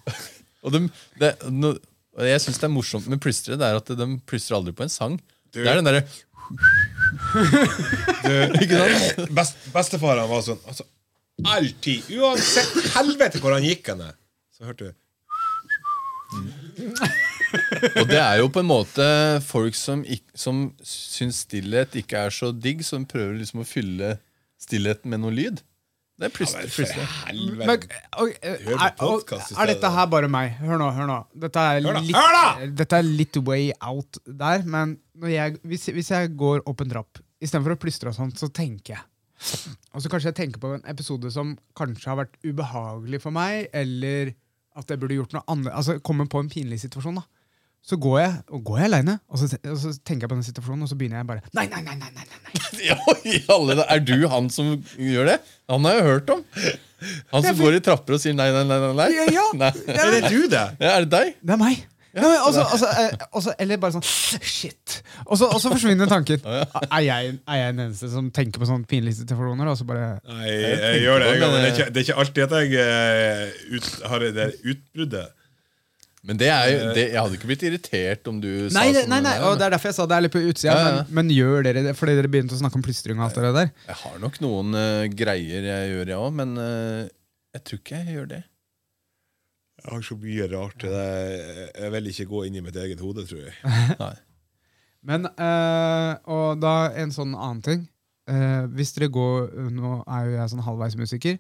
Og de, det, no, og jeg syns det er morsomt med plystre, det er at de plystrer aldri på en sang. Du- Det er den derre Ikke sant? Best, bestefaren var sånn altså, Alltid, uansett helvete hvor han gikk henne Så hørte du Og det er jo på en måte folk som, ikk- som syns stillhet ikke er så digg, som prøver liksom å fylle stillheten med noe lyd. Det er plystre. plystre. Men, Helvete. og, er, Hør på podcast i er, er dette stedet. her bare meg? Hør nå. hør nå Dette er Hør da, litt, hør Dette er litt way out der, men når jeg, hvis, hvis jeg går opp en trapp Istedenfor å plystre og sånt, så tenker jeg. Og så kanskje jeg tenker på en episode som kanskje har vært ubehagelig for meg, eller at jeg burde gjort noe annet. Altså kommer på en pinlig situasjon. da Så går jeg, og går jeg aleine, og, så- og så tenker jeg på den situasjonen, og så begynner jeg bare Nei, nei, nei, nei, nei, nei. Ja, i alle, da- er du han som gjør det? Han har jeg hørt om. Han som går i trapper og sier nei, nei, nei. nei, nei. Ja, ja. nei. Ja, Er det du, det? Ja, er det deg? Det er meg. Ja, men også, også, eh, også, eller bare sånn Shit! Og så, og så forsvinner tanken. Er jeg, er jeg den eneste som tenker på sånn sånne pinlige situasjoner? Og så bare Nei, jeg, gjør det, på jeg, men det, det. er ikke, det er ikke alltid at jeg eh, ut, har det der utbruddet Men det er jo, det, jeg hadde ikke blitt irritert om du sa Eh. Nei, det, sånn nei, nei, der, og men det er derfor jeg sa det er litt på utsida. Ja, ja, ja. Men, men gjør dere det? Fordi dere begynte å snakke om plystring og alt det der. Jeg har nok noen eh, greier jeg gjør, jeg òg, men eh, jeg tror ikke jeg gjør det. Jeg har så mye rart til det Jeg vil ikke gå inn i mitt eget hode, tror jeg Nei. Men, eh, og da en sånn annen ting. Eh, hvis dere går Nå er jo jeg sånn halvveismusiker.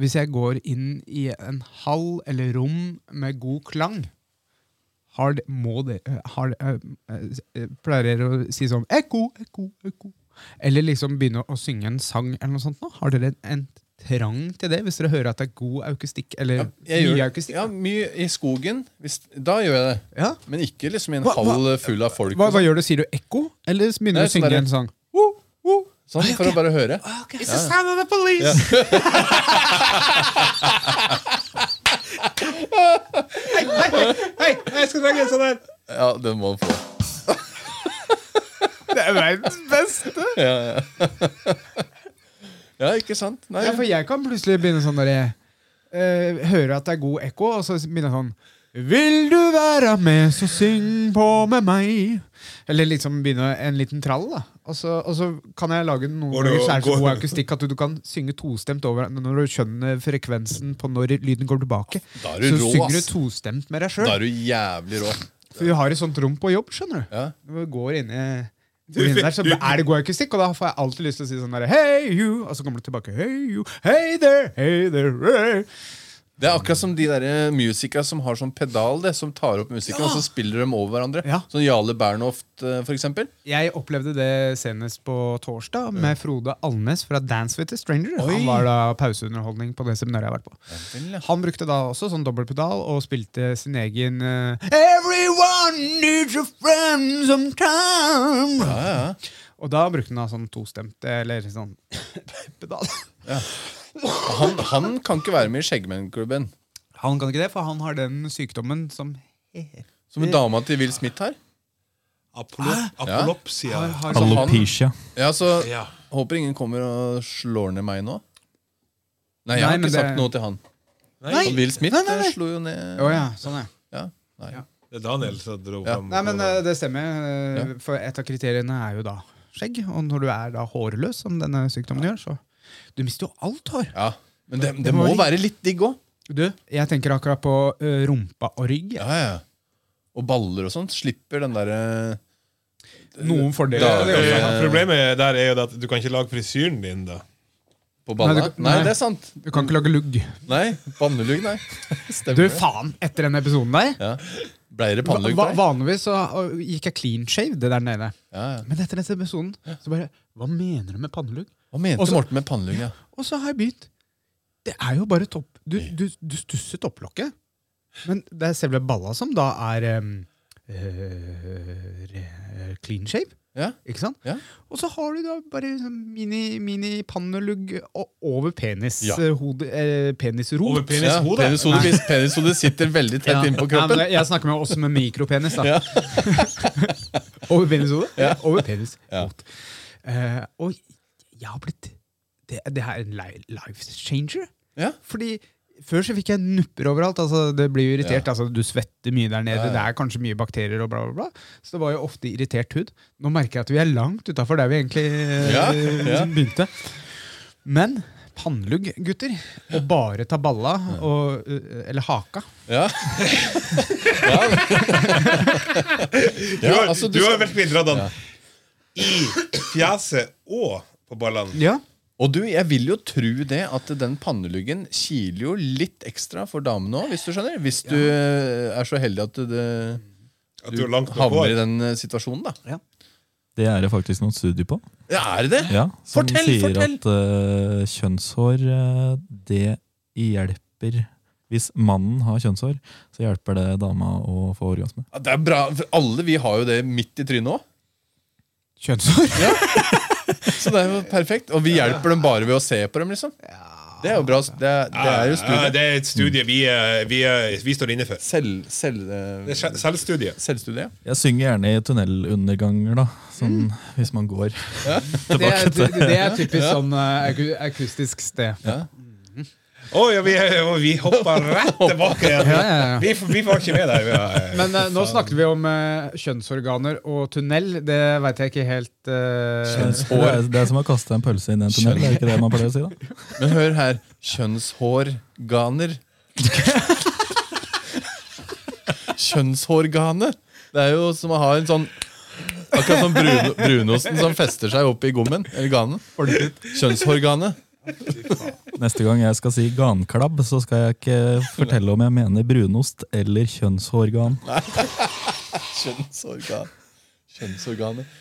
Hvis jeg går inn i en hall eller rom med god klang har de, må de, eh, har de, eh, eh, Pleier dere å si sånn ekko, ekko, ekko? Eller liksom begynne å synge en sang eller noe sånt? Nå? Har dere en, en trang til det, hvis dere hører at det er god akustikk? Eller Jeg gjør, mye akustikk? ja, mye i skogen. Hvis, da gjør jeg det. Ja. Men ikke liksom i en Hva- hva- hall full av folk. Hva, og sånn. hva gjør du? Sier du ekko, eller Nei, begynner du å sånn synge der- en sang? sånn, sånn, for å bare høre. It's the sound of the police! Hei, jeg skal lage en sånn her Ja, den må han få. Det er verdens beste! Ja, ikke sant? Nei. Ja, for jeg kan plutselig begynne sånn når jeg eh, hører at det er god ekko, og så begynner jeg sånn Vil du være med, så syng på med meg. Eller liksom begynne en liten trall, da. Og så, og så kan jeg lage noen Går det ganger så er det så å- går- god akustikk at du, du kan synge tostemt over hverandre når du skjønner frekvensen på når lyden går tilbake. Da er du Så rå, synger du ass. tostemt med deg Da sjøl. er du jævlig rå. For vi har et sånt rom på jobb, skjønner du. Ja. Når vi går inn i går inn der, så er det god akustikk, og da får jeg alltid lyst til å si sånn der Hey you! Og så kommer du tilbake. Hey you! Hey there! Hey there! Hey. Det er akkurat som de der eh, musikere som har sånn pedal, det, som tar opp musikken, og så spiller de over hverandre. Ja. Sånn Jarle Bernhoft, eh, for eksempel. Jeg opplevde det senest på torsdag med Frode Alnes fra Dance with a Stranger. Mm. Oi. Han var da pauseunderholdning på det seminaret jeg har vært på. Han brukte da også sånn dobbeltpedal og spilte sin egen eh, Everyone needs a friend sometime. Ja, ja. Og da brukte han da sånn tostemte eller sånn pedal. Han, han kan ikke være med i Skjeggmennklubben. Han kan ikke det, for han har den sykdommen som Som dama til Will Smith her. Apolop- Apolopsia. har, har sånn, Alopecia. Ja, så Ja. Håper ingen kommer og slår ned meg nå. Nei, jeg Nei, har men ikke det- sagt noe til han. Nei. Og Will Smith Nei, nei, nei. eh, slo jo ned Å ja, sånn ja. Ja, nei. Ja. Det er Daniel som dro Ja. fram Nei, men eh, det stemmer. eh, Ja. For et av kriteriene er jo da skjegg. Og når du er da hårløs, som denne sykdommen gjør, så Du mister jo alt hår. Ja. Men det, det må være litt digg òg. Du, jeg tenker akkurat på eh, rumpa og rygg. Ja, ja. Og baller og sånt. Slipper den eh, derre Noen fordeler. Da- det er jo Eh, sånn. Ja, Problemet der er jo det at du kan ikke lage frisyren din, da. på Nei, balla. det- Nei, nei. det er sant. Du kan ikke lage lugg. Nei, Pannelugg, nei. Du, Stemmer det. faen! Etter den episoden der Ja. Blei det va pannelugg va- på deg? Vanligvis så uh, gikk jeg clean shaved der nede. Ja, ja. Men etter denne episoden så bare Hva mener du med pannelugg? Hva mente Også- Morten med pannelugg? Ja? Og så har jeg begynt. Det er jo bare topp Du, du, du stusser topplokket. Men det er selve balla som da er um, eh, re- clean shave. Ja. Ikke sant? Ja. Og så har du da bare sånn mini- mini-pannelugg o- over penis, Ja. eh, hode, eh, penisrot. Over penis- Ja, Penishodet. penishodet bis- penishodet sitter veldig tett Ja. innpå Nei, men kroppen. jeg- jeg snakker med oss med mikropenis. da Over penishodet? Over penis. Ja. Eh, og jeg har blitt Det, det er en li- life changer. Ja. Fordi før så fikk jeg nupper overalt. Altså, det blir jo irritert. Altså, du svetter mye der nede. Ja, ja. Det er kanskje mye bakterier og bla, bla, bla. Så det var jo ofte irritert hud. Nå merker jeg at vi er langt utafor der vi egentlig eh, Ja, ja. begynte. Men pannelugg, gutter. Å bare ta balla, og, eh, eller haka, Ja. ja. Du har, altså, du du har skal- virkelig dratt den i fjeset og på ballene. Ja. Og du, jeg vil jo tro det at den panneluggen kiler jo litt ekstra for damene òg, hvis du skjønner. Hvis du eh, er så heldig at du, At du du er langt nok havner hår. i den eh, situasjonen, da. Det er det faktisk noen studier på. Ja, er det det? Ja, som Fortell, sier fortell! at eh, kjønnshår, eh, det hjelper Hvis mannen har kjønnshår, så hjelper det dama å få orgasme. Ja, Det er bra, for Alle vi har jo det midt i trynet òg. kjønnshår. Så det er jo perfekt. Og vi hjelper dem bare ved å se på dem, liksom. Det er jo bra. Det er, det er jo Ja, studie. det er et studie vi, eh, vi, eh, vi står inne for. Selv, selv, eh, Det er sel- Selvstudie. selvstudie. Jeg synger gjerne i tunnelunderganger, da. Sånn Mm. hvis man går. Det er, det, det er typisk sånn eh, aku- akustisk sted. Å ja, vi, eh, og vi hoppa rett tilbake Ja, ja, ja. igjen! Vi, vi var ikke med der. Vi var, eh, Men eh, nå snakket vi om eh, kjønnsorganer og tunnel. Det veit jeg ikke helt eh, Det er, det er som å kaste en pølse inn i en tunnel. Det er ikke det man pleier å si, da. Men hør her. Kjønnshårganer. Kjønnshårgane. Det er jo som å ha en sånn Akkurat som brun, brunosten som fester seg opp i gommen. Eller ganen. Kjønnshårgane. Neste gang jeg skal si ganklabb, så skal jeg ikke fortelle om jeg mener brunost eller kjønnshårgan. Kjønnshårgan. Kjønnsorganet.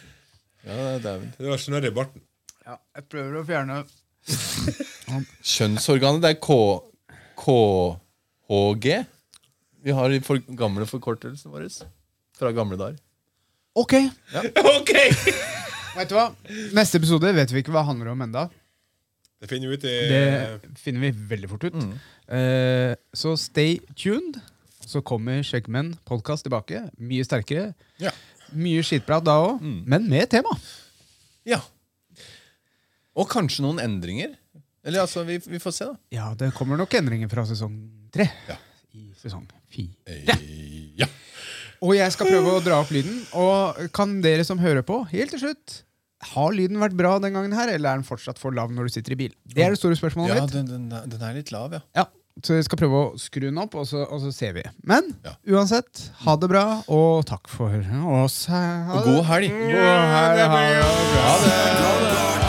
Ja, det er vel Det var snørr i barten. ja, Jeg prøver å fjerne Kjønnsorganet, det er K... KHG. Vi har de for, gamle forkortelsene våre fra gamle dager. Ok, OK! vet du hva? Neste episode vet vi ikke hva handler om enda. Det finner vi ut i Det Eh. finner vi veldig fort ut. Mm. Eh, så stay tuned. Så kommer Skjeggmenn podkast tilbake. Mye sterkere. Ja. Mye skitprat da òg, Mm. men med tema. Ja. Og kanskje noen endringer. Eller altså, vi, vi får se, da. Ja, det kommer nok endringer fra sesong tre. I sesong fire. Eh, Ja. Og jeg skal prøve å dra opp lyden. Og kan dere som hører på, helt til slutt Har lyden vært bra den gangen her, eller er den fortsatt for lav når du sitter i bil? Det er det store spørsmålet Ja, mitt. den, den, er- den er litt lav, ja. Ja, så jeg skal prøve å skru den opp, og så, og så ser vi. Men Ja. uansett, ha det bra, og takk for oss. Ha Og god helg. God helg. Ha det. Ha det.